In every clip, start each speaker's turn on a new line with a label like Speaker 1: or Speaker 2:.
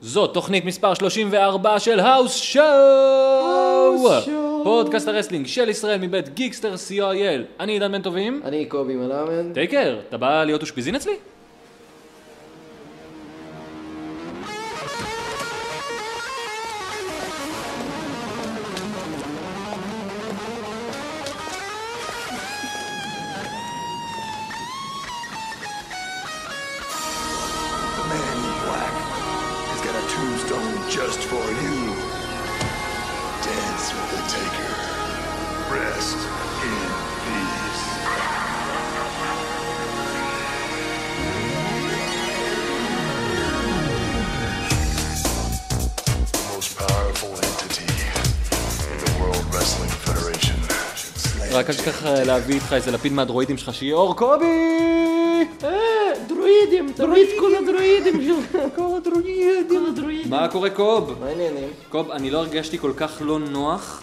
Speaker 1: זו תוכנית מספר 34 של האוס שואו! פודקאסט הרסלינג של ישראל מבית גיקסטר co.il. אני עידן בן טובים.
Speaker 2: אני קובי מלמד.
Speaker 1: טייקר, אתה בא להיות אושפיזין אצלי?
Speaker 3: The man in black has got a tombstone just for you. Dance with the taker. Rest in peace. The most powerful entity in the World Wrestling Federation.
Speaker 1: רק אל תשכח אה, להביא איתך איזה לפיד מהדרואידים שלך שיהיה אור קובי!
Speaker 2: אה, דרואידים, תמיד כל הדרואידים שלך. כל הדרואידים. כל הדרואידים.
Speaker 1: מה קורה קוב?
Speaker 2: מה העניינים?
Speaker 1: קוב, אני לא הרגשתי כל כך לא נוח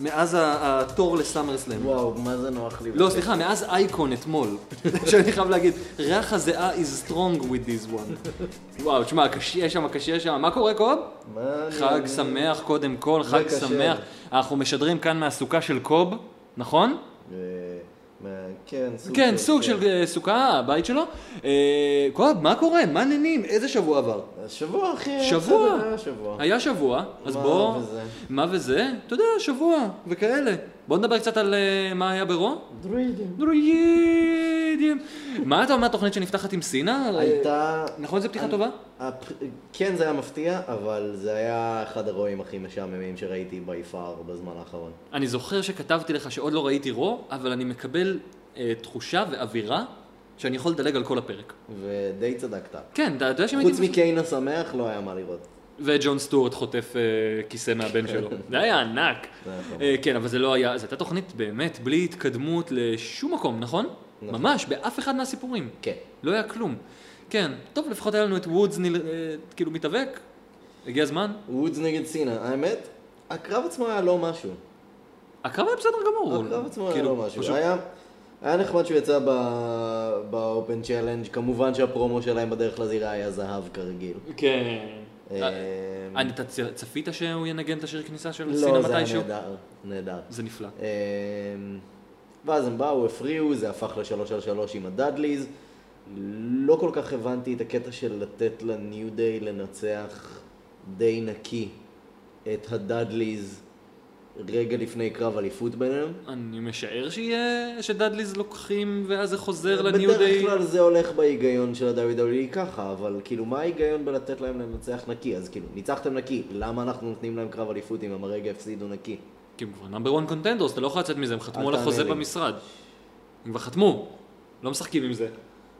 Speaker 1: מאז ה- התור לסאמרסלאם.
Speaker 2: וואו, מה זה נוח לי.
Speaker 1: לא, סליחה, מאז אייקון אתמול. שאני חייב להגיד, ריח הזיעה is strong with this one. וואו, תשמע, קשה שם, קשה שם. מה קורה קוב?
Speaker 2: מה אני-
Speaker 1: חג שמח קודם כל, חג
Speaker 2: אה, קשה.
Speaker 1: שמח. אנחנו משדרים כאן מהסוכה של קוב, נכון?
Speaker 2: אה, מה- כן, סוג
Speaker 1: כן, סוג של אה, סוכה, הבית שלו. אה, קוב, מה קורה? מה העניינים? איזה שבוע עבר?
Speaker 2: אה, שבוע, אחי.
Speaker 1: שבוע.
Speaker 2: בסדר, היה שבוע.
Speaker 1: היה שבוע, אז
Speaker 2: מה
Speaker 1: בוא...
Speaker 2: וזה?
Speaker 1: מה וזה? אתה יודע, שבוע, וכאלה. בוא נדבר קצת על אה, מה היה ברוע.
Speaker 2: דרואידים.
Speaker 1: דרוידים. מה אתה אומר התוכנית שנפתחת עם סינה?
Speaker 2: הייתה...
Speaker 1: נכון, זו פתיחה
Speaker 2: אני-
Speaker 1: טובה?
Speaker 2: הפ- כן, זה היה מפתיע, אבל זה היה אחד הרואים הכי משעממים שראיתי בי פאר בזמן האחרון.
Speaker 1: אני זוכר שכתבתי לך שעוד לא ראיתי רו, אבל אני מקבל אה, תחושה ואווירה שאני יכול לדלג על כל הפרק.
Speaker 2: ודי צדקת.
Speaker 1: כן, אתה יודע שאם
Speaker 2: חוץ
Speaker 1: הייתי...
Speaker 2: מקיין השמח לא היה מה לראות.
Speaker 1: וג'ון סטוארט חוטף אה, כיסא מהבן שלו.
Speaker 2: כן.
Speaker 1: זה היה ענק.
Speaker 2: זה היה חמור.
Speaker 1: אה, כן, אבל זה לא היה... זו הייתה תוכנית באמת בלי התקדמות לשום מקום, נכון?
Speaker 2: נכון.
Speaker 1: ממש, באף אחד מהסיפורים.
Speaker 2: כן.
Speaker 1: לא היה כלום. כן, טוב, לפחות היה לנו את וודס נל... אה, כאילו מתאבק. הגיע הזמן.
Speaker 2: וודס נגד סינה, האמת, הקרב עצמו היה לא משהו.
Speaker 1: הקרב היה בסדר גמור.
Speaker 2: הקרב עצמו היה
Speaker 1: כאילו,
Speaker 2: לא משהו.
Speaker 1: פשוט-
Speaker 2: היה- היה נחמד שהוא יצא ב- באופן צ'אלנג', כמובן שהפרומו שלהם בדרך לזירה היה זהב כרגיל.
Speaker 1: כן.
Speaker 2: אמ,
Speaker 1: אני, אתה צ- צפית שהוא ינגן את השיר כניסה של סינה
Speaker 2: לא, זה היה
Speaker 1: מתישהו?
Speaker 2: נהדר, נהדר.
Speaker 1: זה נפלא.
Speaker 2: אמ, ואז הם באו, הפריעו, זה הפך לשלוש על שלוש עם הדאדליז. לא כל כך הבנתי את הקטע של לתת לניו דיי לנצח די נקי את הדאדליז רגע לפני קרב אליפות ביניהם.
Speaker 1: אני משער שיהיה, שדאדליז לוקחים ואז זה חוזר לניו
Speaker 2: בדרך
Speaker 1: דיי.
Speaker 2: כלל זה הולך בהיגיון של ה-WWE ככה, אבל כאילו מה ההיגיון בלתת להם לנצח נקי? אז כאילו, ניצחתם נקי, למה אנחנו נותנים להם קרב אליפות אם הם הרגע הפסידו נקי?
Speaker 1: כי הם כבר נאמבר 1 קונטנדרס, אתה לא יכול לצאת מזה, הם חתמו
Speaker 2: אל
Speaker 1: על
Speaker 2: תענה
Speaker 1: החוזה
Speaker 2: לי.
Speaker 1: במשרד. הם כבר חתמו, לא משחקים עם זה.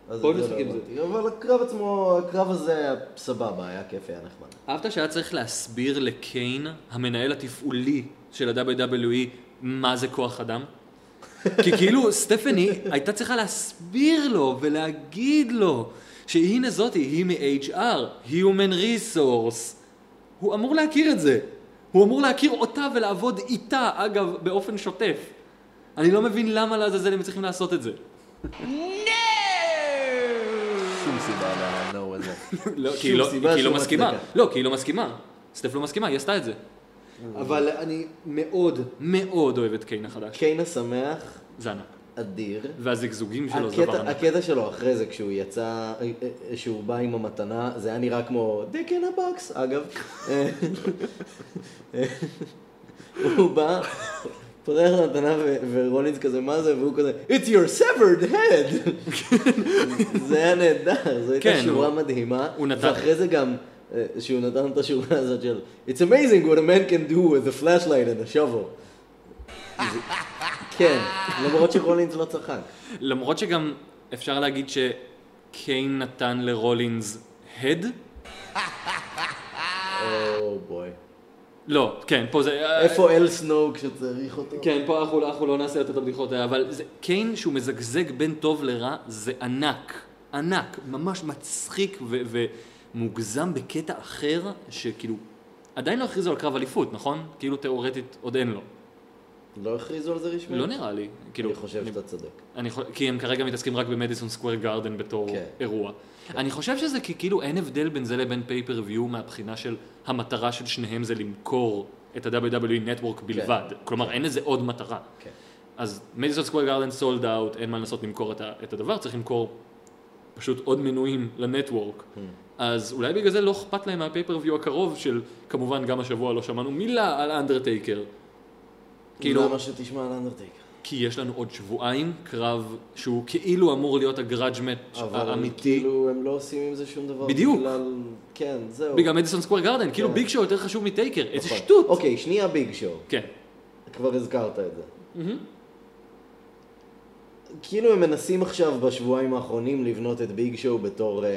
Speaker 2: אז
Speaker 1: בואו
Speaker 2: את זה לא
Speaker 1: נשחק עם זה.
Speaker 2: הבנתי. אבל הקרב עצמו, הקרב הזה היה סבבה, היה כיף, היה נחמד.
Speaker 1: אהבת שהיה צריך להסביר לקיין, המנהל התפעולי של ה-WWE, מה זה כוח אדם? כי כאילו סטפני הייתה צריכה להסביר לו ולהגיד לו שהנה זאתי, היא מ-HR, Human Resource. הוא אמור להכיר את זה. הוא אמור להכיר אותה ולעבוד איתה, אגב, באופן שוטף. אני לא מבין למה לעזאזל הם צריכים לעשות את זה.
Speaker 2: שום סיבה ל-no הזה.
Speaker 1: לא, כי
Speaker 2: שום
Speaker 1: היא לא- כי
Speaker 2: סיבה,
Speaker 1: היא לא
Speaker 2: שום
Speaker 1: מסכימה.
Speaker 2: הצדקה.
Speaker 1: לא, כי היא לא מסכימה. סטף לא מסכימה, היא עשתה את זה. אבל אני מאוד מאוד אוהב את קיין החדש.
Speaker 2: קיין השמח,
Speaker 1: זה ענק.
Speaker 2: אדיר.
Speaker 1: והזגזוגים שלו זה לא דבר
Speaker 2: הקטע,
Speaker 1: ענק.
Speaker 2: הקטע שלו אחרי זה, כשהוא יצא, אה, אה, שהוא בא עם המתנה, זה היה נראה כמו dick in a box, אגב. אה, אה, הוא בא, פותח למתנה ו- ורולינס כזה, מה זה? והוא כזה, it's your severed head. זה היה נהדר, זו
Speaker 1: כן,
Speaker 2: הייתה שורה
Speaker 1: הוא-
Speaker 2: מדהימה.
Speaker 1: הוא נתן-
Speaker 2: ואחרי זה גם, אה, שהוא נתן את השורה הזאת של, it's amazing what a man can do with a flashlight and a shovel. זה- כן, למרות שרולינס לא צחק.
Speaker 1: למרות שגם אפשר להגיד שקיין נתן לרולינס הד? אה.
Speaker 2: או בוי.
Speaker 1: לא, כן, פה זה...
Speaker 2: Oh, איפה אל סנואו כשצריך אותו?
Speaker 1: כן, פה אנחנו, אנחנו לא נעשה יותר את הבדיחות האלה, אבל זה, קיין שהוא מזגזג בין טוב לרע זה ענק, ענק, ממש מצחיק ו, ומוגזם בקטע אחר, שכאילו, עדיין לא הכריזו על קרב אליפות, נכון? כאילו תיאורטית עוד אין לו.
Speaker 2: לא הכריזו על זה רשמית?
Speaker 1: לא נראה לי. כאילו,
Speaker 2: אני חושב שאתה צודק.
Speaker 1: אני חו- כי הם כרגע מתעסקים רק במדיסון סקוויר גארדן בתור
Speaker 2: כן.
Speaker 1: אירוע. אני חושב שזה כי כאילו אין הבדל בין זה לבין פייפריוויו מהבחינה של המטרה של שניהם זה למכור את ה-WWE Network בלבד. כלומר, אין לזה עוד מטרה.
Speaker 2: כן.
Speaker 1: אז מדיסון סקוויר גארדן סולד אאוט, אין מה לנסות למכור את ה- את הדבר, צריך למכור פשוט עוד מנויים לנטוורק.
Speaker 2: Hmm.
Speaker 1: אז אולי בגלל זה לא אכפת להם מהפייפריוויו הקרוב של, כמובן גם השבוע לא שמענו מילה על אנדרטייקר. כאילו,
Speaker 2: למה שתשמע על אנדרטייקר?
Speaker 1: כי יש לנו עוד שבועיים קרב שהוא כאילו אמור להיות הגראג' מאץ'
Speaker 2: אבל
Speaker 1: האמיתי.
Speaker 2: כאילו הם לא עושים עם זה שום דבר.
Speaker 1: בדיוק.
Speaker 2: בגלל... כן, זהו.
Speaker 1: בגלל מדיסון סקוויר גארדן, כאילו
Speaker 2: כן.
Speaker 1: ביג שואו יותר חשוב מטייקר, איזה
Speaker 2: נכון.
Speaker 1: שטות.
Speaker 2: אוקיי, שנייה ביג שואו.
Speaker 1: כן,
Speaker 2: כבר הזכרת את זה. כאילו הם מנסים עכשיו בשבועיים האחרונים לבנות את ביג שואו בתור, אה,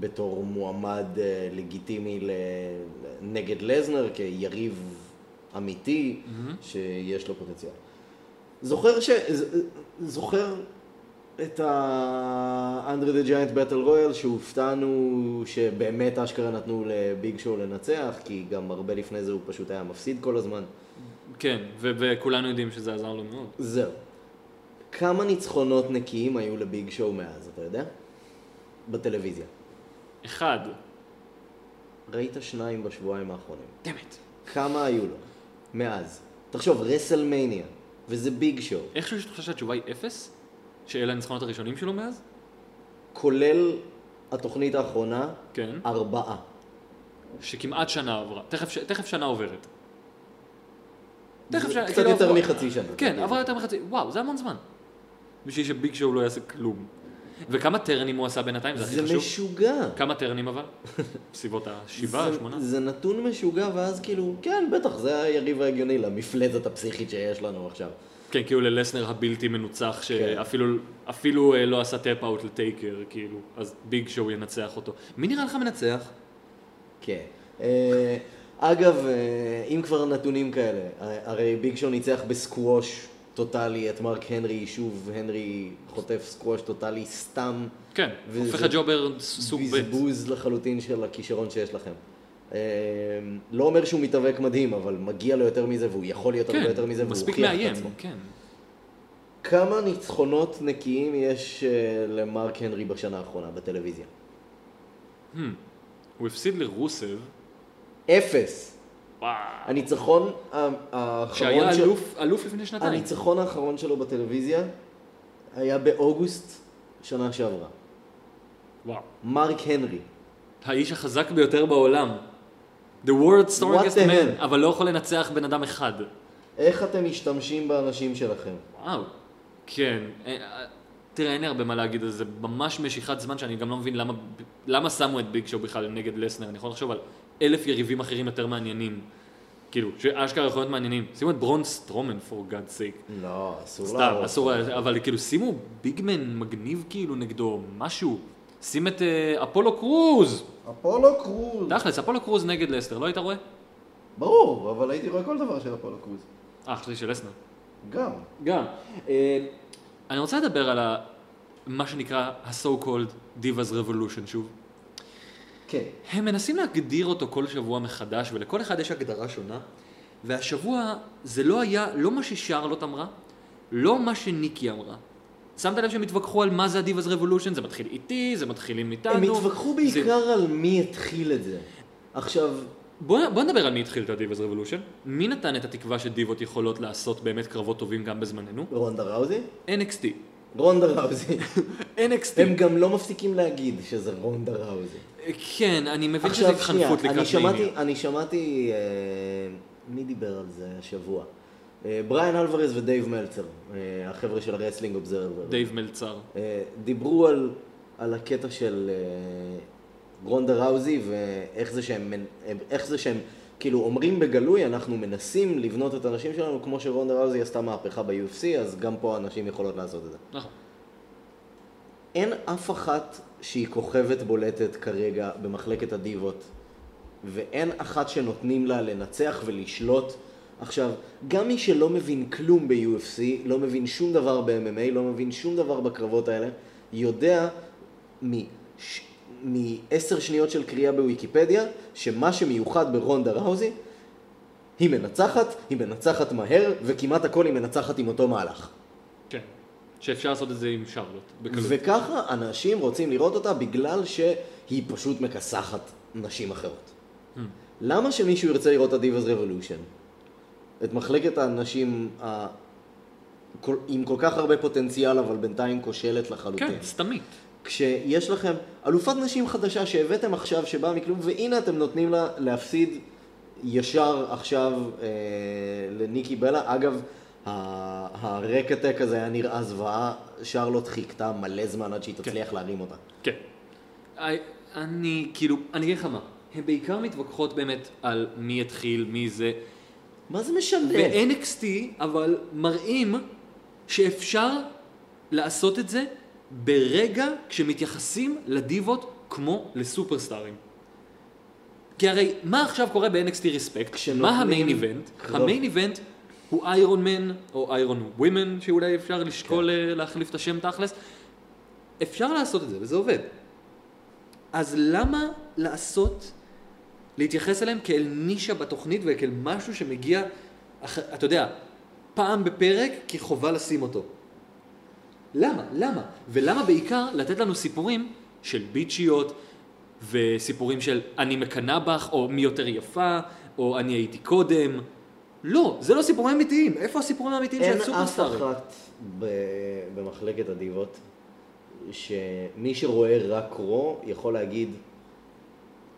Speaker 2: בתור מועמד אה, לגיטימי ל- נגד לזנר כיריב אמיתי שיש לו פוטנציאל. זוכר, ש... ז- זוכר את ה-Under the Giant Battle Royal שהופתענו שבאמת אשכרה נתנו לביג שואו לנצח כי גם הרבה לפני זה הוא פשוט היה מפסיד כל הזמן.
Speaker 1: כן, ו- וכולנו יודעים שזה עזר לו מאוד.
Speaker 2: זהו. כמה ניצחונות נקיים היו לביג שואו מאז, אתה יודע? בטלוויזיה.
Speaker 1: אחד,
Speaker 2: ראית שניים בשבועיים האחרונים.
Speaker 1: דמת.
Speaker 2: כמה היו לו? מאז. תחשוב, רסלמניה, וזה ביג שואו.
Speaker 1: איכשהו יש תחושה שהתשובה היא אפס, שאלה הניצחונות הראשונים שלו מאז?
Speaker 2: כולל התוכנית האחרונה,
Speaker 1: כן.
Speaker 2: ארבעה.
Speaker 1: שכמעט שנה עברה, תכף, ש- תכף שנה עוברת. תכף
Speaker 2: זה
Speaker 1: שנה,
Speaker 2: קצת
Speaker 1: כאילו
Speaker 2: יותר
Speaker 1: עברה-
Speaker 2: מחצי שנה.
Speaker 1: כן, עברה יותר מחצי, וואו, זה המון זמן. בשביל שביג שואו לא יעשה כלום. וכמה טרנים הוא עשה בינתיים, זה הכי
Speaker 2: זה
Speaker 1: חשוב.
Speaker 2: משוגע.
Speaker 1: כמה טרנים אבל? בסביבות השבעה,
Speaker 2: זה-
Speaker 1: שמונה?
Speaker 2: זה נתון משוגע, ואז כאילו, כן, בטח, זה היריב ההגיוני למפלצת הפסיכית שיש לנו עכשיו.
Speaker 1: כן, כאילו ללסנר הבלתי מנוצח,
Speaker 2: כן.
Speaker 1: שאפילו אפילו, אה, לא עשה טאפ אאוט לטייקר, כאילו, אז ביג שואו ינצח אותו. מי נראה לך מנצח?
Speaker 2: כן. אה, אגב, אה, אם כבר נתונים כאלה, ה- הרי ביג שואו ניצח בסקווש טוטאלי את מרק הנרי, שוב הנרי חוטף סקווש טוטאלי סתם
Speaker 1: כן,
Speaker 2: וזה-
Speaker 1: הופך לג'ובר ס- סוג ב'.
Speaker 2: בזבוז לחלוטין של הכישרון שיש לכם. אה, לא אומר שהוא מתאבק מדהים, אבל מגיע לו יותר מזה והוא יכול להיות הרבה
Speaker 1: כן,
Speaker 2: יותר מזה והוא
Speaker 1: מספיק
Speaker 2: הוכיח את
Speaker 1: מאיים,
Speaker 2: עצמו.
Speaker 1: כן.
Speaker 2: כמה ניצחונות נקיים יש אה, למרק הנרי בשנה האחרונה בטלוויזיה?
Speaker 1: הוא הפסיד לרוסב,
Speaker 2: אפס.
Speaker 1: וואו.
Speaker 2: הניצחון ה- האחרון
Speaker 1: שהיה
Speaker 2: של-
Speaker 1: אלוף- אלוף לפני שנתיים.
Speaker 2: הניצחון האחרון שלו בטלוויזיה היה באוגוסט שנה שעברה.
Speaker 1: וואו.
Speaker 2: מרק הנרי.
Speaker 1: האיש החזק ביותר בעולם. The world's strongest
Speaker 2: the
Speaker 1: man,
Speaker 2: hell?
Speaker 1: אבל לא יכול לנצח בן אדם אחד.
Speaker 2: איך אתם משתמשים באנשים שלכם?
Speaker 1: וואו. כן. אה, אה, תראה, אין לי הרבה מה להגיד על זה, ממש משיכת זמן שאני גם לא מבין למה, למה שמו את ביג שואו בכלל נגד לסנר. אני יכול לחשוב על אלף יריבים אחרים יותר מעניינים. כאילו, שאשכרה יכול להיות מעניינים. שימו את ברון סטרומן, for God's sake.
Speaker 2: לא, אסור
Speaker 1: סתם, אסור, אבל כאילו שימו ביגמן מגניב כאילו נגדו, משהו. שים את אה, אפולו קרוז.
Speaker 4: אפולו קרוז.
Speaker 1: תכלס, אפולו קרוז נגד לסנר, לא היית רואה?
Speaker 4: ברור, אבל הייתי רואה כל דבר של אפולו קרוז.
Speaker 1: אה, חשבתי של לסנר.
Speaker 4: גם.
Speaker 1: גם. אה, אני רוצה לדבר על ה- מה שנקרא ה-so called Divas Revolution שוב.
Speaker 4: כן.
Speaker 1: הם מנסים להגדיר אותו כל שבוע מחדש, ולכל אחד יש הגדרה שונה, והשבוע זה לא היה, לא מה ששרלוט אמרה, לא מה שניקי אמרה. שמת לב שהם התווכחו על מה זה ה-Divas Revolution? זה מתחיל איתי, זה מתחילים איתנו.
Speaker 2: הם התווכחו
Speaker 1: זה...
Speaker 2: בעיקר על מי התחיל את זה. עכשיו,
Speaker 1: בוא, בוא נדבר על מי התחיל את ה-Divas Revolution. מי נתן את התקווה שדיבות יכולות לעשות באמת קרבות טובים גם בזמננו?
Speaker 2: רונדה ראוזי?
Speaker 1: NXT.
Speaker 2: רונדה ראוזי.
Speaker 1: NXT.
Speaker 2: הם גם לא מפסיקים להגיד שזה רונדה ראוזי.
Speaker 1: כן, אני מבין שזו
Speaker 2: עכשיו, שנייה,
Speaker 1: התחנפות
Speaker 2: אני
Speaker 1: לקראת
Speaker 2: שמעתי,
Speaker 1: מניה.
Speaker 2: אני שמעתי, אה, מי דיבר על זה השבוע? אה, בריאן אלוורז ודייב מלצר, אה, החבר'ה של הרסלינג אובזרבר.
Speaker 1: דייב מלצר.
Speaker 2: אה, דיברו על, על הקטע של אה, רונדה ראוזי ואיך זה שהם, מנ- הם- איך זה שהם כאילו אומרים בגלוי, אנחנו מנסים לבנות את הנשים שלנו כמו שרונדה ראוזי עשתה מהפכה ב-UFC, אז גם פה הנשים יכולות לעשות את זה.
Speaker 1: נכון.
Speaker 2: אין אף אחת שהיא כוכבת בולטת כרגע במחלקת הדיבות, ואין אחת שנותנים לה לנצח ולשלוט. עכשיו, גם מי שלא מבין כלום ב-UFC, לא מבין שום דבר ב-MMA, לא מבין שום דבר בקרבות האלה, יודע מ- ש- מעשר שניות של קריאה בוויקיפדיה, שמה שמיוחד ברונדה ראוזי, היא מנצחת, היא מנצחת מהר, וכמעט הכל היא מנצחת עם אותו מהלך.
Speaker 1: כן. שאפשר לעשות את זה עם שרלוט, בקלות.
Speaker 2: וככה אנשים רוצים לראות אותה בגלל שהיא פשוט מכסחת נשים אחרות. למה שמישהו ירצה לראות את ה-Divas Revolution? את מחלקת הנשים ה... כל... עם כל כך הרבה פוטנציאל, אבל בינתיים כושלת לחלוטין.
Speaker 1: כן, סתמית.
Speaker 2: כשיש לכם אלופת נשים חדשה שהבאתם עכשיו, שבאה מכלום, והנה אתם נותנים לה להפסיד ישר עכשיו אה, לניקי בלה. אגב, ה- הרקטק הזה היה נראה זוועה, שרלוט חיכתה מלא זמן עד שהיא תצליח להרים אותה.
Speaker 1: כן. I, אני, כאילו, אני אגיד לך מה, הן בעיקר מתווכחות באמת על מי התחיל, מי זה.
Speaker 2: מה זה משנה?
Speaker 1: ב-NXT, אבל מראים שאפשר לעשות את זה ברגע כשמתייחסים לדיבות כמו לסופרסטארים. כי הרי, מה עכשיו קורה ב-NXT ריספקט?
Speaker 2: כשנותנים
Speaker 1: מה המיין איבנט?
Speaker 2: קרב.
Speaker 1: המיין איבנט הוא איירון מן, או איירון ווימן, שאולי אפשר לשקול
Speaker 2: כן.
Speaker 1: אה, להחליף את השם תכלס. אפשר לעשות את זה, וזה עובד. אז למה לעשות, להתייחס אליהם כאל נישה בתוכנית וכאל משהו שמגיע, אח, אתה יודע, פעם בפרק, כי חובה לשים אותו. למה? למה? ולמה בעיקר לתת לנו סיפורים של ביצ'יות, וסיפורים של אני מקנא בך, או מי יותר יפה, או אני הייתי קודם. לא, זה לא סיפורים אמיתיים. איפה הסיפורים האמיתיים
Speaker 2: אין
Speaker 1: של
Speaker 2: אף
Speaker 1: סופרסטארים?
Speaker 2: אחת ב- במחלקת הדיבות שמי שרואה רק רו יכול להגיד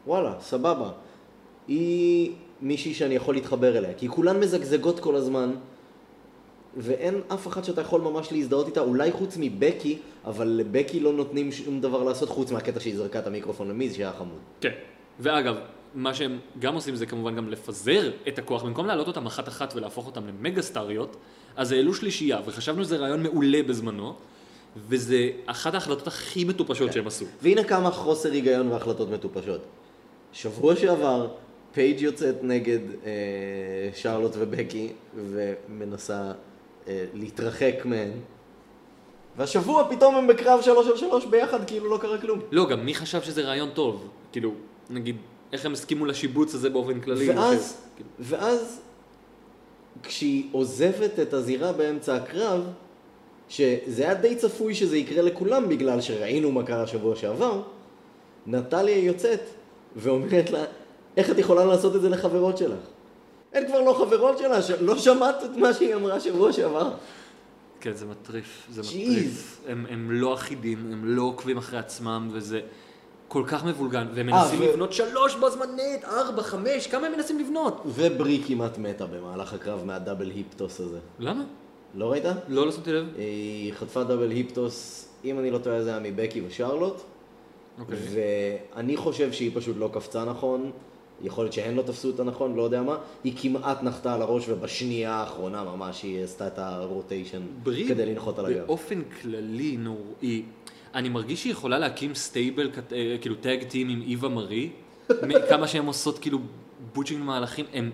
Speaker 2: וואלה, סבבה. היא מישהי שאני יכול להתחבר אליה, כי כולן מזגזגות כל הזמן ואין אף אחת שאתה יכול ממש להזדהות איתה, אולי חוץ מבקי, אבל לבקי לא נותנים שום דבר לעשות חוץ מהקטע שהיא זרקה את המיקרופון למיז שהיה חמוד.
Speaker 1: כן. ואגב, מה שהם גם עושים זה כמובן גם לפזר את הכוח. במקום להעלות אותם אחת-אחת ולהפוך אותם למגה-סטריות, אז העלו שלישייה, וחשבנו שזה רעיון מעולה בזמנו, וזה אחת ההחלטות הכי
Speaker 2: כן.
Speaker 1: מטופשות שהם עשו.
Speaker 2: והנה כמה חוסר היגיון והחלטות מטופשות. שבוע שעבר, פייג' יוצאת נגד אה, שרלוט ובקי, ומנסה אה, להתרחק מהן. והשבוע פתאום הם בקרב שלוש על שלוש ביחד, כאילו לא קרה כלום.
Speaker 1: לא, גם מי חשב שזה רעיון טוב? כאילו, נגיד, איך הם הסכימו לשיבוץ הזה באופן כללי?
Speaker 2: ואז,
Speaker 1: כאילו,
Speaker 2: ואז, כשהיא עוזבת את הזירה באמצע הקרב, שזה היה די צפוי שזה יקרה לכולם בגלל שראינו מה קרה שבוע שעבר, נטליה יוצאת ואומרת לה, איך את יכולה לעשות את זה לחברות שלך? הן כבר לא חברות שלה, ש... לא שמעת את מה שהיא אמרה שבוע שעבר.
Speaker 1: כן, זה מטריף, זה
Speaker 2: Jeez.
Speaker 1: מטריף. הם, הם לא אחידים, הם לא עוקבים אחרי עצמם, וזה כל כך מבולגן. והם
Speaker 2: אה,
Speaker 1: מנסים
Speaker 2: ו-
Speaker 1: לבנות שלוש בו זמנית, ארבע, חמש, כמה הם מנסים לבנות?
Speaker 2: וברי כמעט מתה במהלך הקרב מהדאבל היפטוס הזה.
Speaker 1: למה?
Speaker 2: לא ראית?
Speaker 1: לא, לא שמתי לב.
Speaker 2: היא חטפה דאבל היפטוס, אם אני לא טועה זה היה מבקי ושרלוט.
Speaker 1: אוקיי.
Speaker 2: ואני חושב שהיא פשוט לא קפצה נכון, יכול להיות שהן לא תפסו אותה נכון, לא יודע מה, היא כמעט נחתה על הראש ובשנייה האחרונה ממש היא עשתה את הרוטיישן
Speaker 1: ברי
Speaker 2: כדי לנחות על הגב.
Speaker 1: באופן כללי נוראי. אני מרגיש שהיא יכולה להקים סטייבל, כת- אה, כאילו טאג טים עם איווה מרי, מ- כמה שהן עושות כאילו בוצ'ינג מהלכים, הם...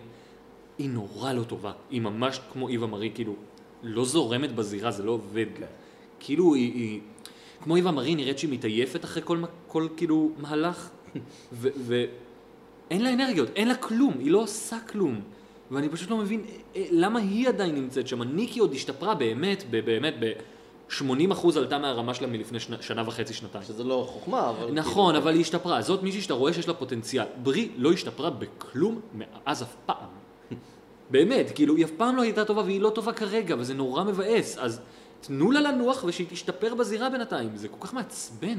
Speaker 1: היא נורא לא טובה. היא ממש כמו איווה מרי, כאילו, לא זורמת בזירה, זה לא עובד.
Speaker 2: כן.
Speaker 1: כאילו היא, היא... כמו איווה מרי נראית שהיא מתעייפת אחרי כל, מ- כל כאילו מהלך, ו... ו... אין לה אנרגיות, אין לה כלום, היא לא עושה כלום. ואני פשוט לא מבין אה, אה, למה היא עדיין נמצאת שם. ניקי עוד השתפרה באמת, ב- באמת, ב-80% עלתה מהרמה שלה מלפני שנה, שנה וחצי, שנתיים.
Speaker 2: שזה לא חוכמה, אבל...
Speaker 1: נכון, אבל היא השתפרה. זאת מישהי שאתה רואה שיש לה פוטנציאל. ברי לא השתפרה בכלום מאז אף פעם. באמת, כאילו, היא אף פעם לא הייתה טובה והיא לא טובה כרגע, וזה נורא מבאס. אז תנו לה לנוח ושהיא תשתפר בזירה בינתיים. זה כל כך מעצבן.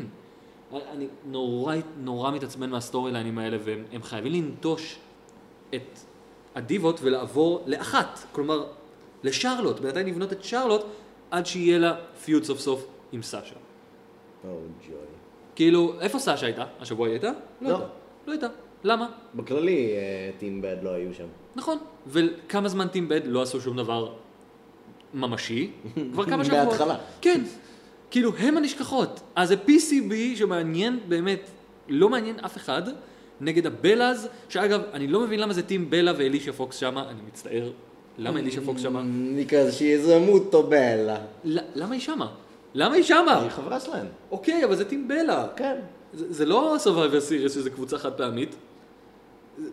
Speaker 1: אני נורא, נורא מתעצבן מהסטורי ליינים האלה, והם הם חייבים לנטוש את הדיבות ולעבור לאחת. כלומר, לשרלוט. בינתיים לבנות את שרלוט עד שיהיה לה פיוד סוף סוף עם סאשה.
Speaker 2: כאילו- או, ג'וי.
Speaker 1: כאילו, איפה סשה הייתה? השבוע היא הייתה?
Speaker 2: לא.
Speaker 1: הייתה. לא הייתה. למה?
Speaker 2: בכללי, אה, טים בד לא היו שם.
Speaker 1: נכון. וכמה זמן טימבד לא עשו שום דבר ממשי? כבר כמה שבועות.
Speaker 2: בהתחלה.
Speaker 1: כן. כאילו, הם הנשכחות. אז זה PCB שמעניין באמת, לא מעניין אף אחד, נגד הבלאז, שאגב, אני לא מבין למה זה טים בלה ואלישה פוקס שמה, אני מצטער. למה אלישה פוקס שמה?
Speaker 2: נקרא שהיא מוטו בלה.
Speaker 1: ל- למה היא שמה? למה היא שמה?
Speaker 2: היא חברה שלהם.
Speaker 1: אוקיי, אבל זה טים בלה.
Speaker 2: כן.
Speaker 1: זה, זה לא Survivor Series שזה קבוצה חד פעמית.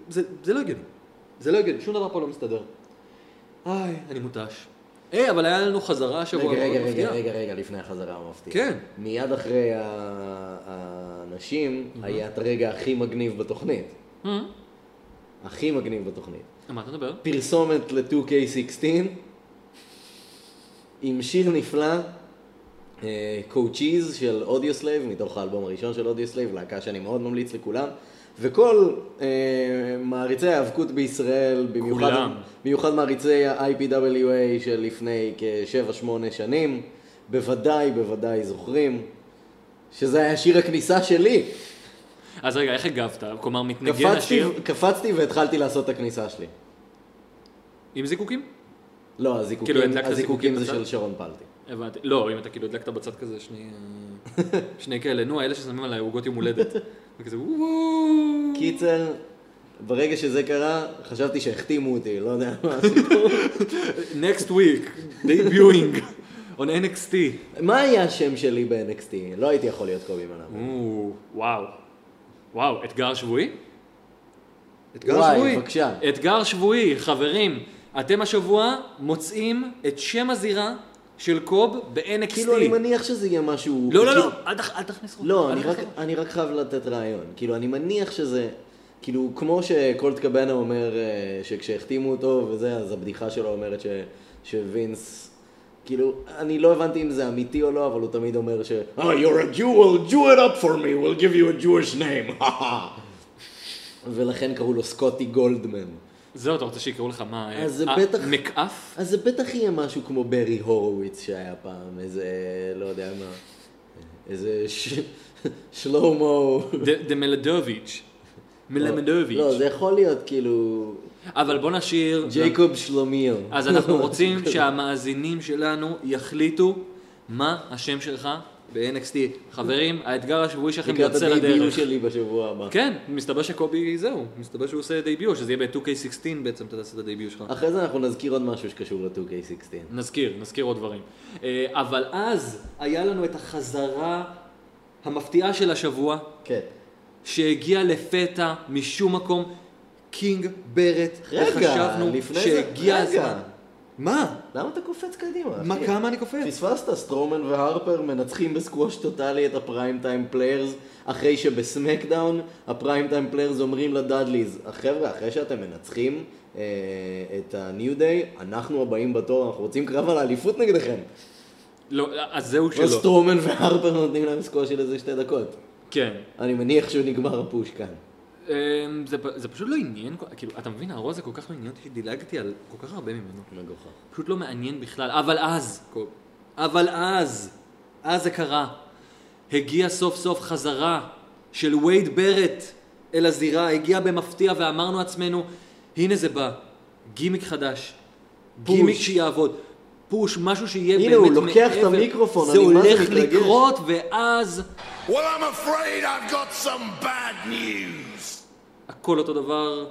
Speaker 1: זה, זה לא הגיוני.
Speaker 2: זה לא הגיוני, שום דבר פה לא מסתדר.
Speaker 1: איי, אני מותש. היי, אבל היה לנו חזרה
Speaker 2: רגע,
Speaker 1: שבוע
Speaker 2: רגע,
Speaker 1: מאוד
Speaker 2: רגע,
Speaker 1: מפתיע.
Speaker 2: רגע, רגע, לפני החזרה המפתיעה.
Speaker 1: כן.
Speaker 2: מיד אחרי ה- האנשים, היה את הרגע הכי מגניב בתוכנית.
Speaker 1: אה,
Speaker 2: הכי מגניב בתוכנית.
Speaker 1: על מה אתה מדבר?
Speaker 2: פרסומת ל-2K16 עם שיר נפלא, קואוצ'יז של אודיו סלייב, מתוך האלבום הראשון של אודיו סלייב, להקה שאני מאוד ממליץ לכולם. וכל אה, מעריצי ההיאבקות בישראל, במיוחד,
Speaker 1: כולם.
Speaker 2: במיוחד מעריצי ה-IPWA של לפני כשבע-שמונה שנים, בוודאי, בוודאי זוכרים, שזה היה שיר הכניסה שלי.
Speaker 1: אז רגע, איך הגבת? כלומר, מתנגן
Speaker 2: קפצתי,
Speaker 1: השיר
Speaker 2: קפצתי והתחלתי לעשות את הכניסה שלי.
Speaker 1: עם זיקוקים?
Speaker 2: לא,
Speaker 1: כאילו,
Speaker 2: הזיקוקים,
Speaker 1: הדלקת זיקוקים
Speaker 2: הזיקוקים זה
Speaker 1: בצד?
Speaker 2: של שרון פלטי.
Speaker 1: הבנתי. לא, אם אתה כאילו הדלקת בצד כזה שני אה, שני כאלה, נו, האלה ששמים עליי עוגות יום הולדת. וכזה וואו.
Speaker 2: קיצר, ברגע שזה קרה, חשבתי שהחתימו אותי, לא יודע מה הסיפור.
Speaker 1: next week, debuting on NXT.
Speaker 2: מה היה השם שלי ב-NXT? לא הייתי יכול להיות קובי מנאבי.
Speaker 1: או, וואו. וואו, אתגר שבועי?
Speaker 2: וואי, בבקשה.
Speaker 1: אתגר שבועי, חברים. אתם השבוע מוצאים את שם הזירה של קוב ב-NXT.
Speaker 2: כאילו, אני מניח שזה יהיה משהו...
Speaker 1: לא, לא, לא,
Speaker 2: כאילו-
Speaker 1: אל תכ- אל תכניס רוחות.
Speaker 2: לא, אני רק- אני רק חייב לתת רעיון. כאילו, אני מניח שזה... כאילו, כמו שקולט קבנה אומר אה, שכשהחתימו אותו וזה, אז הבדיחה שלו אומרת ש- שווינס... כאילו, אני לא הבנתי אם זה אמיתי או לא, אבל הוא תמיד אומר ש... Oh, you're a Jew, well, Jew it up for me, we'll give you a Jewish name. ולכן קראו לו סקוטי גולדמן.
Speaker 1: זהו, לא, אתה רוצה שיקראו לך מה? אה,
Speaker 2: אז זה
Speaker 1: אה,
Speaker 2: בטח-
Speaker 1: מקאף?
Speaker 2: אז זה בטח יהיה משהו כמו ברי הורוביץ שהיה פעם, איזה, לא יודע מה, איזה ש... שלומו.
Speaker 1: דה מלדוביץ'.
Speaker 2: לא, זה
Speaker 1: מלמדוביץ'.
Speaker 2: יכול להיות כאילו
Speaker 1: אבל בוא נשאיר...
Speaker 2: ג'ייקוב שלומיאל.
Speaker 1: לא. אז אנחנו רוצים שהמאזינים שלנו יחליטו מה השם שלך ב-NXT. חברים, האתגר השבועי שלכם
Speaker 2: לקראת
Speaker 1: יוצא
Speaker 2: הדייביוט
Speaker 1: לדרך.
Speaker 2: שלי בשבוע הבא.
Speaker 1: כן, מסתבר שקובי זהו, מסתבר שהוא עושה דייביו, שזה יהיה ב-2K16 בעצם, אתה תעשה את הדייביו שלך.
Speaker 2: אחרי זה אנחנו נזכיר עוד משהו שקשור ל-2K16.
Speaker 1: נזכיר, נזכיר עוד דברים. אה, אבל אז היה לנו את החזרה המפתיעה של השבוע,
Speaker 2: כן.
Speaker 1: שהגיע לפתע משום מקום, קינג ברט,
Speaker 2: רגע,
Speaker 1: וחשבנו
Speaker 2: לפני זה,
Speaker 1: שהגיע הזמן.
Speaker 2: רגע,
Speaker 1: מה?
Speaker 2: למה אתה קופץ קדימה?
Speaker 1: מה,
Speaker 2: אחי?
Speaker 1: כמה אני קופץ?
Speaker 2: פספסת, סטרומן והרפר מנצחים בסקווש טוטאלי את הפריים טיים פליירס, אחרי שבסמקדאון הפריים טיים פליירס אומרים לדאדליז, חבר'ה, אחרי שאתם מנצחים אה, את הניו דיי, אנחנו הבאים בתור, אנחנו רוצים קרב על האליפות נגדכם.
Speaker 1: לא, אז זהו
Speaker 2: לא
Speaker 1: שלא.
Speaker 2: סטרומן והרפר נותנים להם סקווש של איזה שתי דקות.
Speaker 1: כן.
Speaker 2: אני מניח שהוא נגמר הפוש כאן.
Speaker 1: אמ, זה, פ- זה פשוט לא עניין, כל- כאילו, אתה מבין, הרוע הזה כל כך לא עניין אותי שדילגתי על כל כך הרבה ממנו.
Speaker 2: מגוחך.
Speaker 1: פשוט לא מעניין בכלל, אבל אז, כל- אבל אז, אז זה קרה. הגיע סוף סוף חזרה של וייד ברט אל הזירה, הגיע במפתיע ואמרנו לעצמנו, הנה זה בא, גימיק חדש,
Speaker 2: פוש.
Speaker 1: גימיק שיעבוד, פוש, משהו שיהיה
Speaker 2: הנה,
Speaker 1: באמת
Speaker 2: הוא לוקח את
Speaker 1: מעבר.
Speaker 2: המיקרופון,
Speaker 1: זה
Speaker 2: אני מה זה
Speaker 1: הולך
Speaker 2: מתרגש.
Speaker 1: לקרות, ואז
Speaker 3: Well, I'm afraid I've got some bad news.
Speaker 1: הכל אותו דבר,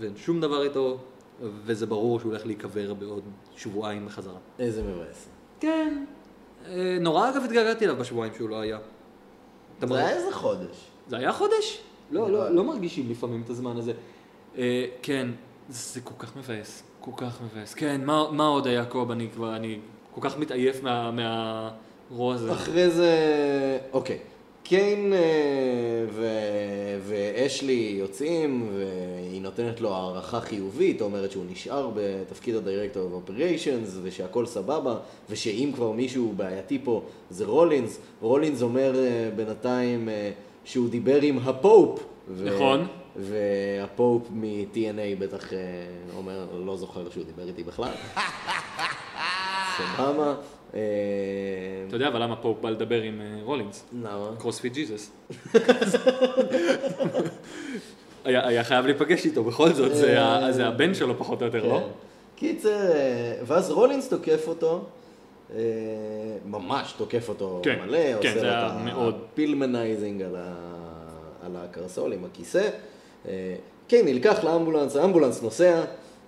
Speaker 1: ואין שום דבר איתו, וזה ברור שהוא הולך להיקבר בעוד שבועיים בחזרה.
Speaker 2: איזה מבאס.
Speaker 1: כן. אה, נורא אגב התגעגעתי אליו בשבועיים שהוא לא היה. אתה
Speaker 2: זה
Speaker 1: מרגיש-
Speaker 2: היה איזה חודש.
Speaker 1: זה היה חודש? לא, לא, לא מרגישים לפעמים את הזמן הזה. אה, כן, זה כל כך מבאס. כל כך מבאס. כן, מה, מה עוד היה קוב? אני כבר, אני כל כך מתעייף מה- מהרוע הזה.
Speaker 2: אחרי זה, אוקיי. קיין אה, ו... ואשלי יוצאים, והיא נותנת לו הערכה חיובית, אומרת שהוא נשאר בתפקיד ה-Director of Operations, ושהכול סבבה, ושאם כבר מישהו בעייתי פה, זה רולינס. רולינס אומר אה, בינתיים אה, שהוא דיבר עם הפופ. ו...
Speaker 1: נכון.
Speaker 2: והפופ מ-TNA בטח אה, אומר, לא זוכר שהוא דיבר איתי בכלל. סבבה. אה,
Speaker 1: אתה יודע, אבל למה פה הוא בא לדבר עם אה, רולינס?
Speaker 2: למה?
Speaker 1: קרוספיט ג'יזוס. היה היה חייב להיפגש איתו בכל זאת, זה ה- זה הבן שלו פחות או יותר, לא?
Speaker 2: כן. קיצר, אה, ואז רולינס תוקף אותו, אה, ממש תוקף אותו
Speaker 1: כן,
Speaker 2: מלא,
Speaker 1: כן,
Speaker 2: עושה
Speaker 1: זה
Speaker 2: לו
Speaker 1: היה מאוד.
Speaker 2: הפילמנייזינג על, ה- על הקרסול עם הכיסא. אה, כן, נלקח לאמבולנס, האמבולנס נוסע,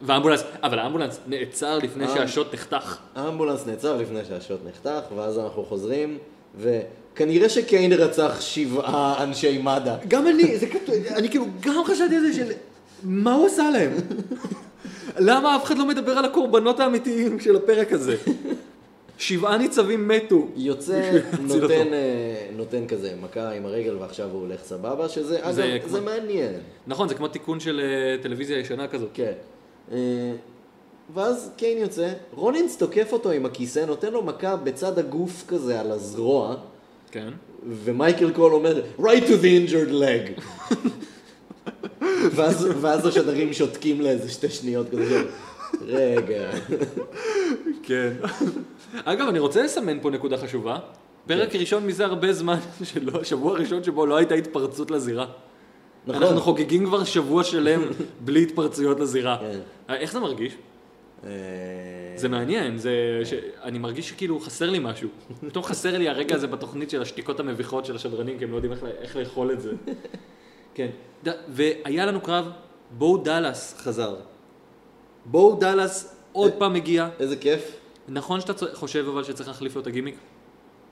Speaker 1: והאמבולנס, אבל האמבולנס נעצר לפני
Speaker 2: אה.
Speaker 1: שהשוט נחתך.
Speaker 2: האמבולנס נעצר לפני שהשוט נחתך, ואז אנחנו חוזרים, וכנראה שקיין רצח שבעה אנשי מד"א.
Speaker 1: גם אני, זה כתוב, אני כאילו גם חשבתי על זה של, מה הוא עשה להם? למה אף אחד לא מדבר על הקורבנות האמיתיים של הפרק הזה? שבעה ניצבים מתו.
Speaker 2: יוצא,
Speaker 1: להציל אותו.
Speaker 2: נותן, אה, נותן כזה מכה עם הרגל ועכשיו הוא הולך סבבה, שזה, אגב,
Speaker 1: זה
Speaker 2: זה,
Speaker 1: כמו-
Speaker 2: זה מעניין.
Speaker 1: נכון, זה כמו תיקון של אה, טלוויזיה ישנה כזאת.
Speaker 2: כן. אה, ואז קיין יוצא, רולינס תוקף אותו עם הכיסא, נותן לו מכה בצד הגוף כזה על הזרוע,
Speaker 1: כן.
Speaker 2: ומייקל קול אומר, right to the injured leg. ואז, ואז השדרים שותקים לאיזה שתי שניות כזה, רגע.
Speaker 1: כן. אגב, אני רוצה לסמן פה נקודה חשובה.
Speaker 2: כן.
Speaker 1: פרק ראשון מזה הרבה זמן, שלא, שבוע ראשון שבו לא הייתה התפרצות לזירה.
Speaker 2: נכון.
Speaker 1: אנחנו חוגגים כבר שבוע שלם בלי התפרצויות לזירה.
Speaker 2: כן.
Speaker 1: אה, איך זה מרגיש?
Speaker 2: אה,
Speaker 1: זה מעניין, זה... ש... אני מרגיש שכאילו חסר לי משהו. פתאום חסר לי הרגע הזה בתוכנית של השתיקות המביכות של השדרנים, כי הם לא יודעים איך, ל- איך לאכול את זה. כן. ד... והיה לנו קרב, בואו דאלאס.
Speaker 2: חזר. אה,
Speaker 1: בואו דאלאס עוד פעם מגיע.
Speaker 2: איזה כיף.
Speaker 1: נכון שאתה צ- חושב אבל שצריך להחליף לו את הגימיק?